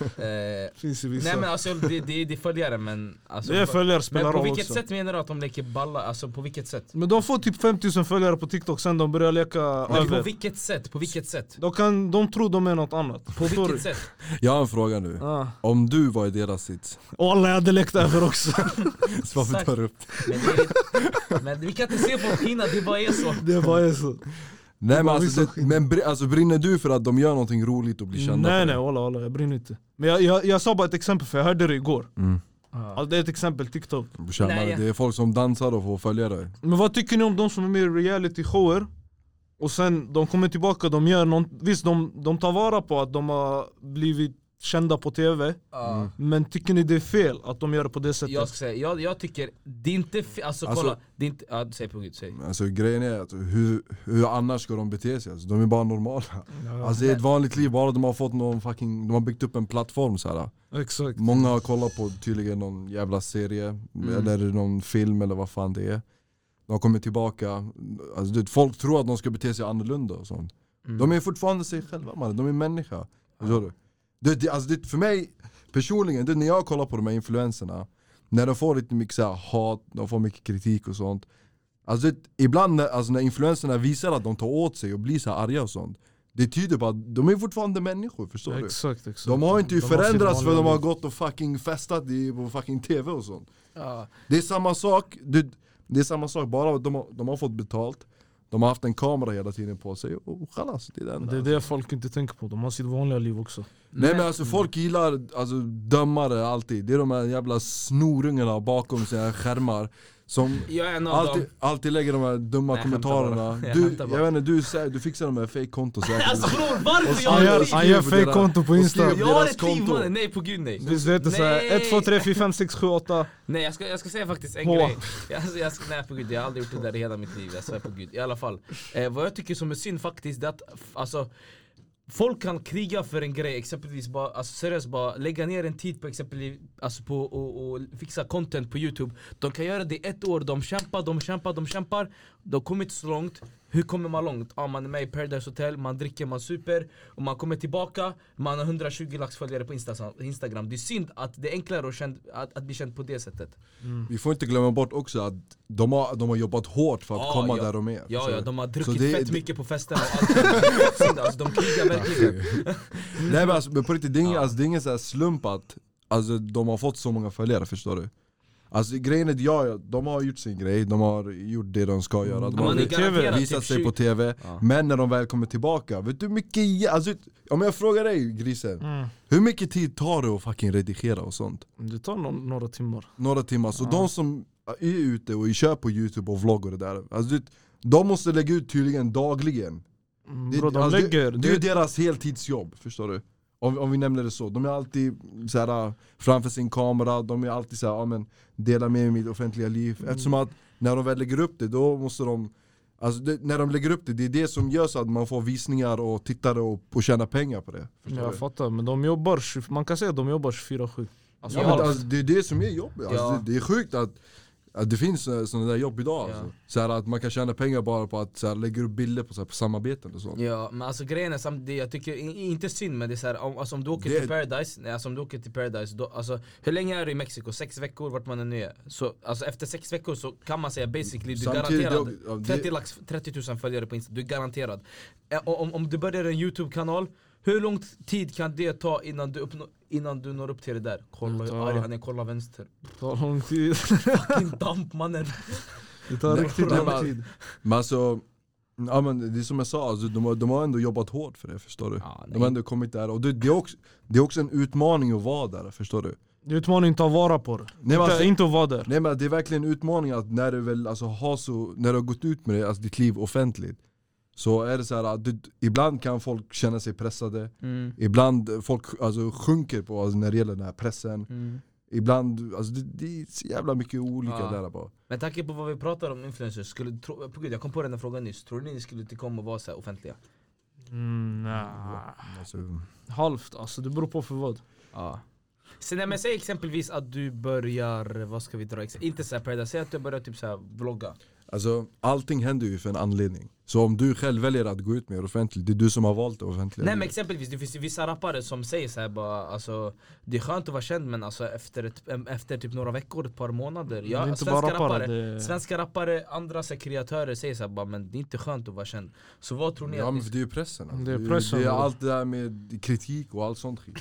Speaker 4: eh,
Speaker 3: Finns ju vissa
Speaker 4: nej men alltså det, det, det är följare men alltså,
Speaker 3: Det är följare spelar
Speaker 4: Men på
Speaker 3: roll
Speaker 4: vilket
Speaker 3: också
Speaker 4: sätt menar du att de leker balla? Alltså på vilket sätt?
Speaker 3: Men de får typ 5000 följare på tiktok sen de börjar leka
Speaker 4: Men på
Speaker 3: över
Speaker 4: vilket sätt? På vilket sätt?
Speaker 3: Då kan de tro de är något annat
Speaker 4: På
Speaker 3: Förstår du?
Speaker 4: vilket sätt?
Speaker 2: Jag har en fråga nu,
Speaker 3: Ah.
Speaker 2: om du var i deras sits, <laughs>
Speaker 3: Och alla jag hade lekt över också
Speaker 2: så varför
Speaker 4: Exakt.
Speaker 2: tar du upp det?
Speaker 4: Men, det är, men vi kan inte se på skillnad, det bara är så.
Speaker 3: Det var ju så
Speaker 2: Nej men,
Speaker 3: var
Speaker 2: alltså,
Speaker 3: vissa
Speaker 2: det, men br- alltså brinner du för att de gör någonting roligt och blir kända
Speaker 3: Nej
Speaker 2: för
Speaker 3: nej
Speaker 2: det?
Speaker 3: walla walla jag brinner inte Men jag, jag, jag sa bara ett exempel för jag hörde det igår
Speaker 2: Mm.
Speaker 4: Ja.
Speaker 3: alltså, Det är ett exempel tiktok
Speaker 2: De tjänar-
Speaker 4: Nej.
Speaker 2: Det är folk som dansar och får följare
Speaker 3: Men vad tycker ni om de som är med i realityshower? Och sen de kommer tillbaka, de gör någon, visst de, de tar vara på att de har blivit kända på tv
Speaker 4: Ja.
Speaker 3: Men tycker ni det är fel att de gör det på det sättet?
Speaker 4: Jag ska säga, jag, jag tycker, det är inte fe- alltså,
Speaker 2: Alltså-
Speaker 4: kolla, det är inte, ja, säg på gud, säg.
Speaker 2: Alltså grejen är att hur, hur annars ska de bete sig? Alltså, de är bara normala Alltså det är ett vanligt liv, bara de har fått någon fucking, de har byggt upp en plattform så här.
Speaker 3: Exakt
Speaker 2: Många har kollat på tydligen någon jävla serie, eller någon film eller vad fan det är De kommer tillbaka, alltså, du vet, folk tror att de ska bete sig annorlunda och sånt De är fortfarande sig själva man. de är människa Förstår du? Det, det, alltså, det, för mig personligen, det, när jag kollar på de här influenserna När de får lite mycket så här, hat, de får mycket kritik och sånt Alltså det, ibland när, alltså, när influenserna visar att de tar åt sig och blir så här arga och sånt Det tyder på att de är fortfarande människor, förstår du?
Speaker 3: Exakt exakt
Speaker 2: De har inte ju
Speaker 3: De har sitt
Speaker 2: förändrats för
Speaker 3: vanliga
Speaker 2: de har
Speaker 3: liv.
Speaker 2: gått och fucking festat i, på fucking tv och sånt
Speaker 4: Ja.
Speaker 2: Det är samma sak, det, det är samma sak bara att de, har- de har fått betalt De har haft en kamera hela tiden på sig och chalas, det är det
Speaker 3: Men
Speaker 2: enda
Speaker 3: Det är det folk inte tänker på, de har sitt vanliga liv också
Speaker 2: Nej men alltså folk gillar alltså, dömare alltid, det är de här jävla snorungarna bakom sina skärmar som
Speaker 4: Jag är en av
Speaker 2: Alltid,
Speaker 4: dem.
Speaker 2: alltid lägger de här dumma
Speaker 4: Nej, jag skämtar
Speaker 2: kommentarerna
Speaker 4: bara. Jag
Speaker 2: Du,
Speaker 4: skämtar
Speaker 2: jag,
Speaker 4: bara.
Speaker 2: vet inte, du, sä- du fixar de här fake-konton säkert
Speaker 4: Alltså
Speaker 2: Och
Speaker 4: bror varför
Speaker 2: skriver-
Speaker 4: jag
Speaker 3: gör-
Speaker 4: har
Speaker 2: och
Speaker 4: ett
Speaker 3: han
Speaker 4: liv?
Speaker 3: gör
Speaker 2: skriver deras-
Speaker 3: fake-konto på
Speaker 2: och
Speaker 3: Insta.
Speaker 2: skriver
Speaker 4: Jag har
Speaker 2: deras
Speaker 4: ett liv
Speaker 2: konton.
Speaker 4: mannen, nej på gud nej.
Speaker 3: Visst heter det såhär
Speaker 4: Nej.
Speaker 3: 1, 2, 3, 4, 5, 6, 7, 8
Speaker 4: Nej jag ska, jag ska säga faktiskt en
Speaker 3: På.
Speaker 4: grej. Jag, alltså, jag, nej på gud, jag har aldrig gjort det där i hela mitt liv. Jag svär på gud. I alla fall. Eh, vad jag tycker som är synd faktiskt det är att f- alltså, folk kan kriga för en grej. Exempelvis bara, alltså, seriöst bara lägga ner en tid på exempelvis alltså, på, och, och fixa content på youtube. De kan göra det i ett år. De kämpar, de kämpar, de kämpar. De kommer inte så långt. Hur kommer man långt? Ja, man är med i Paradise Hotel, man dricker, man super och man kommer tillbaka, man har 120 lax följare på Insta- Instagram. Det är synd att det är enklare att, känd, att, att bli känd på det sättet.
Speaker 2: Vi får inte glömma bort också att de har, de har jobbat hårt för att
Speaker 4: Ja,
Speaker 2: komma
Speaker 4: ja.
Speaker 2: där de är
Speaker 4: Ja,
Speaker 2: Så-
Speaker 4: ja, de har druckit
Speaker 2: Alltså, så det-
Speaker 4: fett
Speaker 2: det-
Speaker 4: mycket på festerna och allt. Synd, alltså, de krigar verkligen.
Speaker 2: Nej men alltså men på riktigt, det är ingen, alltså, det är ingen så här slump att alltså, de har fått så många följare förstår du Alltså grejen är att jag, jag- de har gjort sin grej, de har gjort det de ska göra,
Speaker 4: Mm.
Speaker 2: de
Speaker 7: Man
Speaker 2: har
Speaker 7: är
Speaker 2: vi-
Speaker 7: garanterat
Speaker 3: TV,
Speaker 2: visat
Speaker 7: typ
Speaker 2: sig på
Speaker 7: tjugo-
Speaker 2: tv,
Speaker 7: Ja.
Speaker 2: men när de väl kommer tillbaka, vet du hur mycket, jä- alltså, om jag frågar dig grisen,
Speaker 3: Mm.
Speaker 2: hur mycket tid tar det att fucking redigera och sånt?
Speaker 3: Det tar no- några timmar.
Speaker 2: Några timmar, så
Speaker 3: Ja.
Speaker 2: de som är ute och kör på youtube och vloggar och det där, alltså, du, vet, de måste lägga ut tydligen dagligen
Speaker 3: Mm,
Speaker 2: det,
Speaker 3: Bro, de
Speaker 2: alltså,
Speaker 3: lägger...
Speaker 2: det, det är ju deras heltidsjobb, förstår du? Om, om vi nämner det så, de är alltid så här, ah, framför sin kamera, de är alltid så här, ja, men, delar med mig i mitt offentliga liv
Speaker 3: Mm.
Speaker 2: Eftersom att när de väl lägger upp det, då måste de Alltså det, när de lägger upp det, det är det som gör så att man får visningar och tittare och, och tjäna pengar på det förstår
Speaker 3: jag
Speaker 2: du?
Speaker 3: fattar, men de jobbar, 20 man kan säga att de jobbar 24-7. Alltså,
Speaker 2: Ja,
Speaker 3: allt.
Speaker 2: men, alltså, det är det som är jobbigt, alltså,
Speaker 7: Ja.
Speaker 2: det, det är sjukt att, att det finns sådana där jobb idag
Speaker 7: Ja.
Speaker 2: alltså. så här, att man kan tjäna pengar bara på att så här, lägga upp bilder på, så här, på samarbeten och sånt
Speaker 4: Ja men alltså grejen är samtidigt, jag tycker i- inte synd men det är såhär om, alltså, om du åker
Speaker 2: Det-
Speaker 4: till Paradise, nej, alltså, om du åker till Paradise då, alltså, hur länge är du i Mexiko? Sex veckor vart man än är så, alltså, efter sex veckor så kan man säga basically du är
Speaker 2: Samtidigt,
Speaker 4: garanterad
Speaker 2: ja, det-
Speaker 4: 30, lax, 30 000 följare på Insta, du är garanterad Ä- och om, om du börjar en YouTube-kanal, hur lång tid kan det ta innan du, uppnå, innan du når upp till det där? Kolla
Speaker 2: Mm,
Speaker 3: Det
Speaker 4: hur
Speaker 3: tar-
Speaker 4: arg han är, kolla vänster
Speaker 3: Det tar lång tid.
Speaker 4: Fucking damp mannen!
Speaker 3: <laughs> Det tar
Speaker 2: Nej,
Speaker 3: riktigt
Speaker 2: men-
Speaker 3: lång tid.
Speaker 2: Men alltså, ja, men det är som jag sa, alltså, de, har- de har ändå jobbat hårt för det förstår du.
Speaker 4: Ja,
Speaker 2: de har ändå kommit där, och det, det, är också, det är också en utmaning att vara där förstår du.
Speaker 3: Det är utmaning att ta vara på det.
Speaker 2: men
Speaker 3: inte,
Speaker 2: alltså-
Speaker 3: inte att vara där.
Speaker 2: Nej men det är verkligen en utmaning att när du väl alltså, har, så, när du har gått ut med det, alltså, ditt liv offentligt, så är det så här att du, ibland kan folk känna sig pressade,
Speaker 4: Mm.
Speaker 2: ibland eh, folk alltså, sjunker på alltså, när det gäller den här pressen,
Speaker 4: Mm.
Speaker 2: ibland, alltså, det, det är så jävla mycket olika
Speaker 4: Ja.
Speaker 2: där bara.
Speaker 4: Med tanke på vad vi pratar om influencers, skulle, tro, på gud, jag kom på den här frågan nyss, tror ni ni skulle inte komma och vara så här offentliga?
Speaker 3: Mm, nah.
Speaker 2: Alltså,
Speaker 4: mm.
Speaker 3: Halvt alltså, det beror på för vad.
Speaker 4: Ja. Sen, nej, men säg exempelvis att du börjar, vad ska vi dra, ex- inte såhär Paradise, säg att du börjar typ såhär vlogga
Speaker 2: Alltså allting händer ju för en anledning. Så om du själv väljer att gå ut med det offentligt, det är du som har valt det offentliga.
Speaker 4: Nej men
Speaker 2: livet.
Speaker 4: exempelvis, det finns ju vissa rappare som säger såhär bara alltså Det är skönt att vara känd men alltså efter, ett, em- efter typ några veckor, ett par månader
Speaker 3: det är
Speaker 4: ja,
Speaker 3: inte
Speaker 4: Svenska
Speaker 3: bara
Speaker 4: rappare,
Speaker 3: rappare. Det...
Speaker 4: svenska rappare, andra så här, kreatörer säger såhär bara men det är inte skönt att vara känd Så vad tror ni
Speaker 2: Ja
Speaker 4: att ni
Speaker 2: men för det är ju pressen. Alltså.
Speaker 3: Det är pressen,
Speaker 2: Det är
Speaker 3: bro.
Speaker 2: allt det där med kritik och allt sånt skit.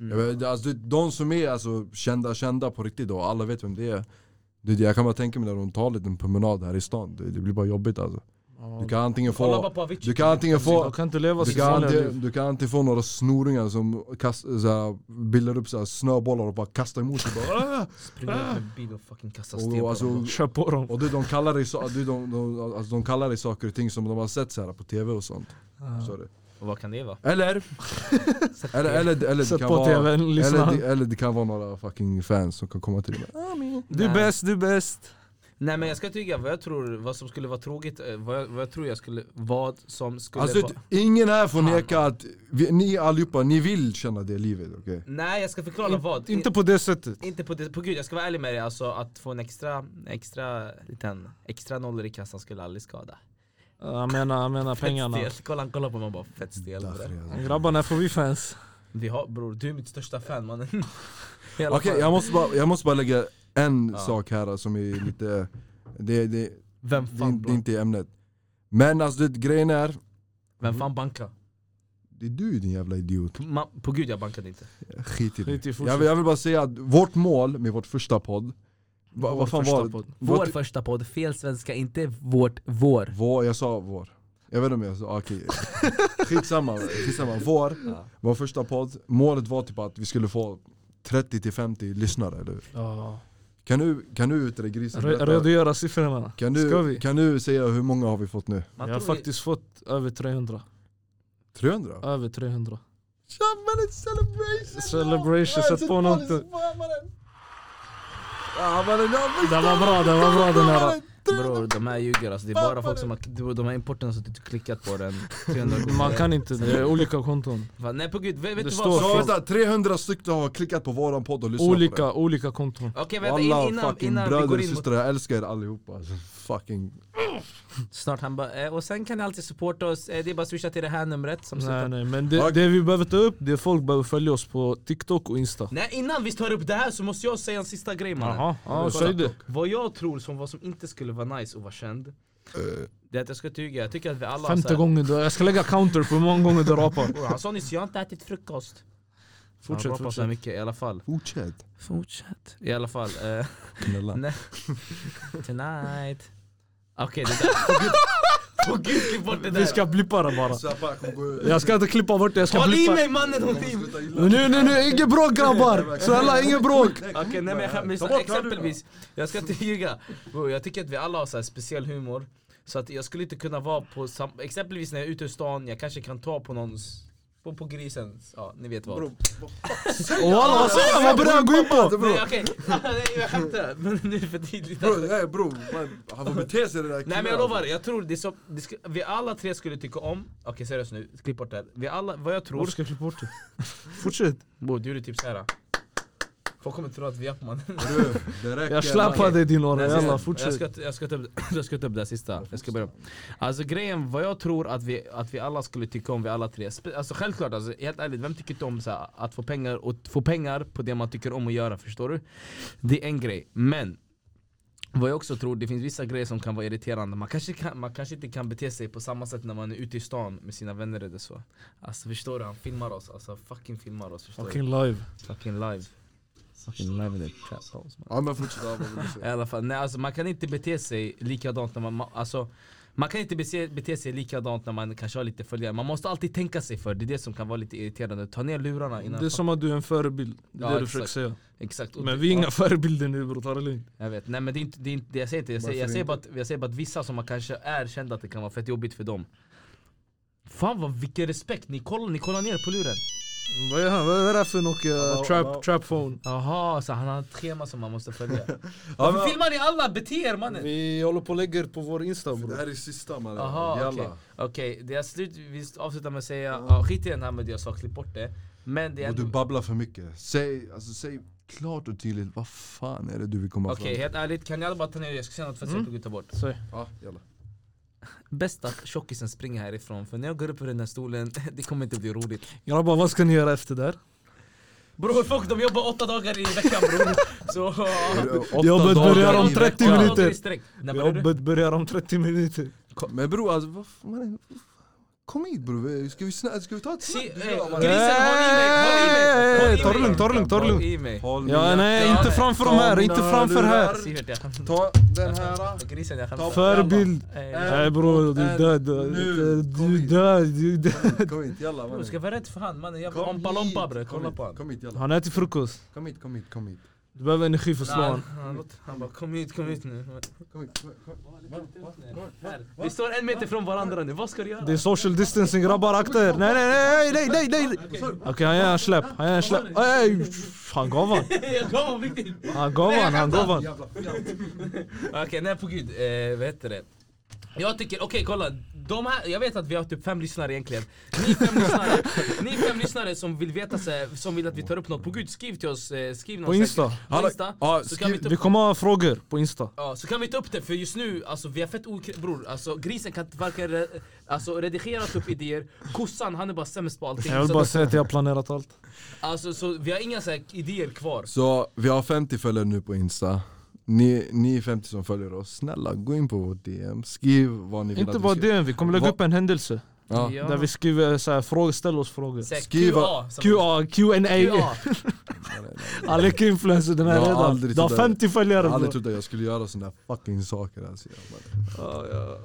Speaker 4: Mm.
Speaker 2: Jag vet, alltså, det- de som är alltså, kända, kända på riktigt och alla vet vem det är. Det, är det jag kan bara tänka mig när de tar en liten promenad här i stan, det, det blir bara jobbigt alltså. Du kan antingen
Speaker 4: Kolla bara
Speaker 2: få,
Speaker 4: på Avicii
Speaker 2: du kan antingen
Speaker 3: De
Speaker 2: få
Speaker 3: kan inte leva
Speaker 2: du
Speaker 3: sitt
Speaker 2: kan,
Speaker 3: vanliga
Speaker 2: antingen,
Speaker 3: liv.
Speaker 2: du kan antingen få några snoringar som kast, så här, bildar upp så här, snöbollar och bara kastar emot dig.
Speaker 3: <laughs>
Speaker 2: Bara, "Ah!"
Speaker 4: Springa ut med bil och fucking kasta sten
Speaker 2: och,
Speaker 4: på
Speaker 2: alltså,
Speaker 4: dem.
Speaker 3: Kör på dem.
Speaker 2: Och du, de kallar dig, så, du, de, de, alltså, de kallar dig saker och ting som de har sett så här på tv och sånt. Förstår du?
Speaker 4: Och vad kan det
Speaker 2: <laughs>
Speaker 4: vara?
Speaker 2: Eller, eller, eller, eller, det
Speaker 3: Sätt
Speaker 2: kan
Speaker 3: på
Speaker 2: vara,
Speaker 3: tvn, lyssna.
Speaker 2: eller, det, eller det kan vara några fucking fans som kan komma till dig.
Speaker 3: Du
Speaker 4: Nej.
Speaker 3: är bäst, du är bäst.
Speaker 4: Nej men jag ska tycka vad jag tror, vad som skulle vara tråkigt, eh, vad jag, vad jag tror jag skulle, vad som skulle
Speaker 2: Alltså,
Speaker 4: vara
Speaker 2: ingen här får neka att vi, ni allihopa, ni vill känna det livet, okej?
Speaker 4: Nej jag ska förklara vad,
Speaker 3: Inte på det sättet.
Speaker 4: I- inte på, det, på gud jag ska vara ärlig med dig alltså att få en extra, extra liten, extra nollor i kassan skulle aldrig skada
Speaker 3: Jag menar, jag menar
Speaker 4: Fett
Speaker 3: pengarna.
Speaker 4: stel, kolla han kollar på mig och bara fett stel
Speaker 2: Därför
Speaker 4: bror."
Speaker 2: är jag-
Speaker 3: Grabbar, när får vi fans?
Speaker 4: Vi har bror, du är mitt största fan
Speaker 2: <laughs>
Speaker 4: mannen I alla
Speaker 2: Okej,
Speaker 4: fall.
Speaker 2: jag, måste bara- jag måste bara lägga en sak här alltså, som är lite, det, det,
Speaker 4: Vem
Speaker 2: det, är
Speaker 4: fan
Speaker 2: inte- det är
Speaker 4: bror?
Speaker 2: inte i ämnet. Men alltså det, grejen är,
Speaker 4: Vem fan banka?
Speaker 2: det är du din jävla idiot.
Speaker 4: På, ma- på gud jag bankade inte
Speaker 2: Skit i det.
Speaker 3: Skit i, fortsätt.
Speaker 2: jag, vill, jag vill bara säga att vårt mål med vårt första podd, va,
Speaker 3: Vår
Speaker 2: vad fan
Speaker 3: första
Speaker 2: var det?
Speaker 3: podd.
Speaker 2: Vår Vårt-
Speaker 4: första podd, fel svenska, inte vårt, vår
Speaker 2: Vår, jag sa vår. Jag vet inte om jag sa, <laughs> okej. Skitsamma, skitsamma. Vår, vår första podd, målet var typ att vi skulle få 30-50 lyssnare, eller hur?
Speaker 3: Ja.
Speaker 2: Kan du, kan du ut det grisen?
Speaker 3: Re-
Speaker 2: berätta?
Speaker 3: Redogöra siffrorna.
Speaker 2: Kan
Speaker 3: Ska
Speaker 2: du,
Speaker 3: vi?
Speaker 2: kan du säga hur många har vi fått nu?
Speaker 4: Man
Speaker 3: jag har
Speaker 4: tror-
Speaker 3: faktiskt fått över 300.
Speaker 2: 300?
Speaker 3: Över 300.
Speaker 2: Tjabban, it's celebration!
Speaker 3: Celebration, sätt på någonting.
Speaker 2: Ja, mannen, jag visste
Speaker 3: Det var bra, det var bra den här.
Speaker 2: mannen.
Speaker 4: Bror de här ljuger alltså, det är bara folk som har, de- de här importerna som inte klickat på den 300 gånger.
Speaker 3: <laughs> Man kan inte, det är olika konton.
Speaker 4: Va, Nej på gud, vet, vet
Speaker 3: Det
Speaker 4: du vad?
Speaker 3: står-
Speaker 2: Så vänta, 300 stycken har klickat på våran podd och lyssnat på den.
Speaker 3: Olika, olika konton.
Speaker 4: Okej vänta, in,
Speaker 2: Alla
Speaker 4: innan,
Speaker 2: fucking
Speaker 4: innan vi
Speaker 2: bröder
Speaker 4: går
Speaker 2: och
Speaker 4: in mot...
Speaker 2: systrar, jag älskar er allihopa alltså, fucking.
Speaker 4: Snart han bara, eh, och sen kan ni alltid supporta oss, eh, det är bara att swisha till det här numret som
Speaker 3: Nej
Speaker 4: slutar-
Speaker 3: nej, men det,
Speaker 2: Okej.
Speaker 3: det vi behöver ta upp det är folk behöver följa oss på TikTok och Insta.
Speaker 4: Nej innan vi tar upp det här så måste jag säga en sista grej mannen
Speaker 3: Jaha, ja,
Speaker 4: Kolla.
Speaker 3: säg det.
Speaker 4: Vad jag tror som vad som inte skulle vara nice att vara känd Det är att jag ska tyga, jag tycker att vi alla har så
Speaker 3: Femte
Speaker 4: här-
Speaker 3: <laughs> gången du, jag ska lägga counter på hur många gånger du rapar.
Speaker 4: Bror, Han sa nyss, jag har inte ätit frukost
Speaker 3: Fortsätt,
Speaker 4: han rappar så
Speaker 3: fortsätt.
Speaker 4: här mycket i alla fall.
Speaker 2: Fortsätt
Speaker 4: Fortsätt. I alla fall. eh, <laughs>
Speaker 2: knulla.
Speaker 4: tonight. Okej det där. På gud, på gud, klipp bort det
Speaker 3: Vi
Speaker 4: där.
Speaker 3: ska blippa det bara.
Speaker 2: Så jag bara kommer gå ut.
Speaker 3: Jag ska inte klippa bort det, jag ska
Speaker 4: Håll i
Speaker 3: blippa.
Speaker 4: mig mannen! Håll i mig!
Speaker 2: Sluta illa.
Speaker 3: Nu, nu, nu, inget bråk grabbar! Snälla, inget bråk!
Speaker 4: Okej, nej men jag skämtar.
Speaker 2: Ta
Speaker 4: Lyssna,
Speaker 2: bort
Speaker 4: Exempelvis, jag ska inte ljuga. Bro, Jag tycker att vi alla har så här speciell humor. Så att jag skulle inte kunna vara på sam- Exempelvis när jag är ute i stan, jag kanske kan ta på någons... På, på grisens, ja ni vet vad.
Speaker 2: Bro.
Speaker 3: Och alla, vad säger han? Vad börjar han gå in på?
Speaker 2: Bro,
Speaker 4: Nej okej, <laughs> Nej, jag skämtar. Men nu är det för tidigt.
Speaker 2: bro, nej, bro. Man, han får bete sig den där
Speaker 4: Nej
Speaker 2: killen,
Speaker 4: men jag lovar, jag tror det är så, det ska, vi alla tre skulle tycka om, okej seriöst nu, klipp bort det här. Vi alla, vad jag tror,
Speaker 3: Varför ska jag klippa bort det? Fortsätt.
Speaker 4: Bo, du gjorde typ såhär Folk kommer tro att vi är Jackman
Speaker 2: alltså. Bro, det räcker.
Speaker 3: Jag slappade dig din orre,
Speaker 4: Nej,
Speaker 3: jalla
Speaker 4: jag, jag,
Speaker 3: fortsätt.
Speaker 4: ska, jag, ska ta upp, <clears throat> jag ska ta upp det här sista, jag ska börja Alltså grejen, vad jag tror att vi, att vi alla skulle tycka om, vi alla tre Spe- Alltså självklart, alltså, helt ärligt, vem tycker inte om så här, att få pengar och t- få pengar på det man tycker om att göra, förstår du? Det är en grej, men vad jag också tror, det finns vissa grejer som kan vara irriterande Man kanske, kan, man kanske inte kan bete sig på samma sätt när man är ute i stan med sina vänner eller så Alltså förstår du, han filmar oss, alltså fucking filmar oss, förstår
Speaker 3: Fucking live.
Speaker 4: du? Fucking live Fucking live in the trap house man.
Speaker 2: Ja men fortsätt. ja, vad vill du säga?
Speaker 4: I alla fall, nej, alltså, man kan inte bete sig likadant när man- man... Alltså, man kan inte bete, bete sig likadant när man kanske har lite följare. Man måste alltid tänka sig för. Det är det som kan vara lite irriterande. Ta ner lurarna innan.
Speaker 3: Det är som att du är en förebild, det är
Speaker 4: Ja,
Speaker 3: det du
Speaker 4: exakt.
Speaker 3: försöker säga.
Speaker 4: Exakt. Och-
Speaker 3: Men vi är inga förebilder nu bror, ta det lugnt.
Speaker 4: Jag vet, nej men det är inte, det är inte det jag säger inte. Jag säger, jag,
Speaker 2: Varför
Speaker 4: säger bara att, jag säger bara att vissa som man kanske är kända att det kan vara fett jobbigt för dem. Fan vad vilken respekt, ni kollar, ni kollar ner på luren.
Speaker 3: Vad är han? Vad är det här för
Speaker 2: Hallå,
Speaker 3: Nokia
Speaker 2: hallå.
Speaker 3: trap, trap phone?
Speaker 4: Jaha, så han har ett schema som man måste följa.
Speaker 2: Ja,
Speaker 4: Varför
Speaker 2: men-
Speaker 4: filmar ni alla? Bete er mannen!
Speaker 3: Vi håller på och lägger på vår insta
Speaker 2: Det
Speaker 3: bror.
Speaker 2: här är sista mannen.
Speaker 4: Aha, okej.
Speaker 2: Jalla.
Speaker 4: Okej, det är slut. Vi avslutar med att säga, ja, skit i den här med det jag sa, klipp bort det. Men det är
Speaker 2: Och du
Speaker 4: ändå...
Speaker 2: babblar för mycket. Säg, alltså, säg klart och tydligt vad fan är det du vill komma
Speaker 4: Okej, helt ärligt, kan ni alla bara ta ner det? Jag ska säga något fett
Speaker 2: Mm.
Speaker 4: som jag tog ut och bort.
Speaker 2: fram till? Ja, jalla.
Speaker 4: Bäst att tjockisen springer härifrån, för när jag går upp ur den här stolen, <laughs> det kommer inte bli roligt.
Speaker 3: Grabbar vad ska ni göra efter det här?
Speaker 4: Bror, folk de jobbar åtta dagar i veckan
Speaker 2: <laughs>
Speaker 4: bror. Så...
Speaker 3: Jobbet
Speaker 2: dagar
Speaker 3: börjar om
Speaker 2: i
Speaker 3: 30
Speaker 4: Ja, åtta dagar i
Speaker 3: minuter.
Speaker 4: sträck. Nej, vad är det?
Speaker 3: Jobbet börjar om 30 minuter.
Speaker 2: Men bror alltså, vad fan, mannen, kom hit bror. Ska vi, snä- ska vi ta ett
Speaker 4: Se,
Speaker 2: snack?
Speaker 4: eh, Grisen, håll i mig! Håll i mig! Håll i mig!
Speaker 3: Hey, ta det lugnt, ta det lugnt, ta det
Speaker 4: Håll
Speaker 3: lugnt.
Speaker 4: i mig!
Speaker 2: Håll
Speaker 3: Ja
Speaker 2: mina-
Speaker 3: nej, inte framför de här, inte framför här.
Speaker 4: Sivert, jag skämtar.
Speaker 2: Ta den här.
Speaker 4: Grisen, jag
Speaker 2: Ta-
Speaker 4: skämtar.
Speaker 3: Förebild.
Speaker 4: Eh,
Speaker 3: Nej bror, du är död.
Speaker 2: Nu, kom
Speaker 3: Du är
Speaker 2: hit.
Speaker 3: död, du är död.
Speaker 2: Kom hit, jalla
Speaker 4: Bror,
Speaker 2: mannen.
Speaker 4: Du ska vara rädd för han mannen, jag
Speaker 2: Kom
Speaker 4: ompa
Speaker 2: hit,
Speaker 4: lompa bre,
Speaker 2: kom
Speaker 4: kolla
Speaker 2: hit,
Speaker 4: på han.
Speaker 2: Kom hit jalla.
Speaker 3: Han äter frukost.
Speaker 2: Kom hit, kom hit, kom hit.
Speaker 3: Du behöver energi för att slå
Speaker 4: Nej,
Speaker 3: han.
Speaker 4: han låter- Han bara kom hit, kom hit nu.
Speaker 2: Kom hit, kom hit, kom hit.
Speaker 4: Här. Vi står en meter från varandra nu, vad ska du göra?
Speaker 3: Det är social distancing grabbar, akta er! Nej nej nej nej nej nej! nej. Okej han ger en släpp, han ger en släpp. Ey, han gav han!
Speaker 4: <laughs> Jag gav på riktigt!
Speaker 3: Han gav han, han gav han!
Speaker 4: Okej, nej på gud, eh, vad heter det? Jag tycker, okej kolla, de här, jag vet att vi har typ fem lyssnare egentligen Ni fem lyssnare, ni fem lyssnare som vill veta, så här, som vill att vi tar upp något, på gud skriv till oss, eh, skriv något
Speaker 3: På Insta.
Speaker 4: säkert. På Insta,
Speaker 2: Ja,
Speaker 4: så kan vi ta
Speaker 3: Vi
Speaker 4: upp
Speaker 3: kommer ha frågor på insta.
Speaker 4: Ja, så kan vi ta upp det för just nu, alltså vi är fett okre... Bror, alltså grisen kan varken re... alltså, redigera ta upp idéer, kossan han är bara sämst på allting.
Speaker 3: Jag vill
Speaker 4: Så-
Speaker 3: bara säga att jag har planerat allt.
Speaker 4: Alltså så vi har inga så här idéer kvar.
Speaker 2: Så vi har 50 följare nu på Insta. Ni, ni 50 som följer oss, snälla gå in på vår DM, skriv vad ni vill
Speaker 3: Inte
Speaker 2: att
Speaker 3: bara
Speaker 2: vi ska
Speaker 3: det, vi kommer lägga upp en händelse.
Speaker 2: Ja.
Speaker 3: Där vi skriver så här, frågor, ställ oss frågor.
Speaker 4: Så här,
Speaker 2: skriva-
Speaker 4: QA. som-
Speaker 3: QA, Q&A
Speaker 4: QA.
Speaker 3: Aleka influencer den här
Speaker 2: Jag har
Speaker 3: redan.
Speaker 2: aldrig
Speaker 3: Du har
Speaker 2: trott det.
Speaker 3: 50
Speaker 2: Jag
Speaker 3: följare
Speaker 2: hade aldrig
Speaker 3: bror.
Speaker 2: trott att jag skulle göra sådana fucking saker alltså. jag bara-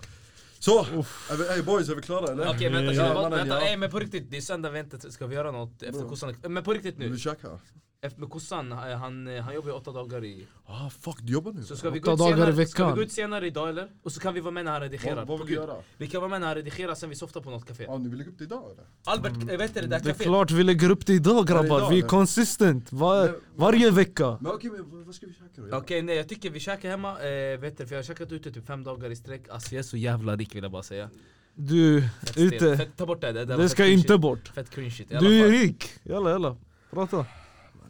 Speaker 2: Så! Är vi, hey boys, är vi klara eller?
Speaker 4: Okej vänta,
Speaker 2: Ja,
Speaker 4: vänta,
Speaker 2: mannen,
Speaker 4: vänta.
Speaker 2: ja.
Speaker 4: Nej men på riktigt, det är söndag, vänta, ska vi göra något efter kossan? Men på riktigt
Speaker 2: Vill
Speaker 4: nu,
Speaker 2: du käka?
Speaker 4: efter med kossan, eh, han, eh, han jobbar ju åtta dagar i...
Speaker 2: Ah fuck, du jobbar nu?
Speaker 4: Så ska vi
Speaker 3: Åtta
Speaker 4: gå ut
Speaker 3: dagar i
Speaker 4: senare, ska vi
Speaker 3: veckan.
Speaker 4: gå ut senare idag eller? Och så kan vi vara med när han redigerar.
Speaker 2: vad, vad vill
Speaker 4: På
Speaker 2: du
Speaker 4: Gud.
Speaker 2: göra?
Speaker 4: Vi kan vara med när han redigerar, sen vi softar på något café.
Speaker 2: Ja, ni vill lägga upp det idag eller?
Speaker 4: Albert, eh, vet du det där
Speaker 3: Mm. Det är
Speaker 4: caféet?
Speaker 3: klart vi lägger upp det idag
Speaker 2: idag,
Speaker 3: grabbar, vi är
Speaker 2: eller?
Speaker 3: consistent. Var, varje vecka.
Speaker 2: Men okej, men vad- vad ska vi käka då?
Speaker 4: Okej nej jag tycker vi käkar hemma, eh, vet du, för jag har käkat ute typ fem dagar i sträck Alltså jag är så jävla rik vill jag bara säga
Speaker 3: Du,
Speaker 4: Fett stel.
Speaker 3: ute.
Speaker 4: Fett, Ta bort det, det, där var
Speaker 3: Det
Speaker 4: fett
Speaker 3: ska
Speaker 4: cringe
Speaker 3: inte
Speaker 4: shit.
Speaker 3: bort.
Speaker 4: Fett cringe shit, i alla
Speaker 3: Du är
Speaker 4: fall
Speaker 3: rik. Jalla jalla, prata.
Speaker 4: typ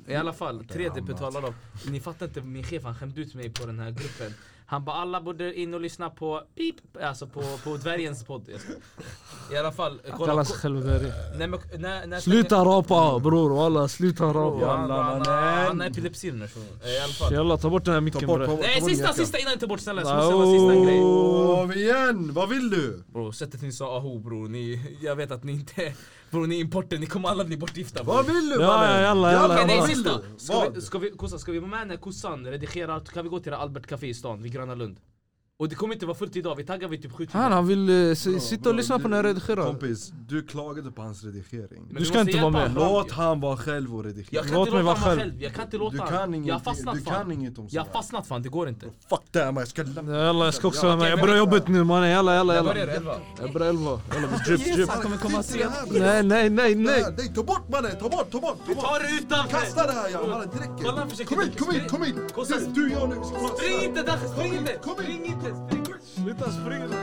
Speaker 4: I alla fall, 3D betalar dem Ni fattar inte, min chef han skämde ut mig på den här gruppen Han bara alla borde in och lyssna på pip, alltså på, på dvärgens podd. Jag ska- I alla fall, eh, kolla.
Speaker 3: Kalla sig själv dvärg.
Speaker 4: Nej, men, när, när
Speaker 3: Sluta rapa bror walla, sluta rapa.
Speaker 4: Han, han, han har epilepsi den här personen. Eh, I alla fall.
Speaker 3: Jalla ta bort den här
Speaker 2: Ta
Speaker 3: micken
Speaker 2: bort, ta
Speaker 3: bre.
Speaker 2: bort, ta
Speaker 4: Nej
Speaker 2: bort
Speaker 4: sista,
Speaker 2: jackan.
Speaker 4: sista innan jag tar bort snälla. Jag måste säga sista grej.
Speaker 2: Åh, igen! Vad vill du?
Speaker 4: Bro, sättet ni sa aho bror, ni, jag vet att ni inte, bror ni är importer, ni kommer alla bli bortgifta bror.
Speaker 2: Vad vill du
Speaker 3: Ja,
Speaker 2: mannen?
Speaker 3: ja, jalla, jalla,
Speaker 2: Grabbar,
Speaker 4: Okej, nej
Speaker 2: vad vill
Speaker 4: sista!
Speaker 2: du?
Speaker 4: Ska vi,
Speaker 2: Vad?
Speaker 4: ska, vi, kossa, ska vi vara med när kossan redigerar, kan vi gå till det här Albert Café i stan vid Gröna Lund? Och det kommer inte vara fullt idag, vi taggar vid typ 70
Speaker 3: Han, han vill eh,
Speaker 2: Bro,
Speaker 3: s- sitta
Speaker 2: bro,
Speaker 3: och lyssna på
Speaker 2: du-
Speaker 3: när jag redigerar.
Speaker 2: Kompis, du klagade på hans redigering.
Speaker 3: du ska inte vara med.
Speaker 2: Låt han vara själv och redigera.
Speaker 4: Jag kan
Speaker 3: Låt
Speaker 4: inte
Speaker 3: mig
Speaker 4: låta
Speaker 3: vara
Speaker 4: honom
Speaker 3: själv.
Speaker 4: själv, jag kan inte låta
Speaker 2: Du
Speaker 4: han.
Speaker 2: kan
Speaker 4: Jag har
Speaker 2: ingenting,
Speaker 4: fastnat
Speaker 2: du
Speaker 4: fan.
Speaker 2: kan inget om
Speaker 4: jag har
Speaker 2: sådär.
Speaker 4: fastnat fan, det går inte.
Speaker 2: Fuck det här man, jag ska lämna
Speaker 3: Jalla jag ska också vara med, jag
Speaker 4: men-
Speaker 3: börjar jobbet nu mannen. Jalla jalla
Speaker 4: Jag
Speaker 3: jalla.
Speaker 4: börjar elva.
Speaker 3: Jag börjar elva. Jalla vi drip drip.
Speaker 8: Han kommer komma
Speaker 2: Skit i det
Speaker 8: sent.
Speaker 2: här, bro.
Speaker 3: Nej nej nej nej.
Speaker 2: Nej, nej, ta bort mannen, ta bort, ta bort! Ta bort.
Speaker 4: Ta det utanför!
Speaker 2: Kasta det här jävlar, det
Speaker 4: Kolla, han
Speaker 2: räcker!
Speaker 4: försöker-
Speaker 2: Kom hit, kom hit, kom hit!
Speaker 4: Kostas.
Speaker 2: Du, du, jag nu, vi ska kasta det
Speaker 4: Spring
Speaker 2: här.
Speaker 4: inte Dash, spring inte!
Speaker 2: Kom hit,
Speaker 4: Spring inte! Spring.
Speaker 3: Sluta springa.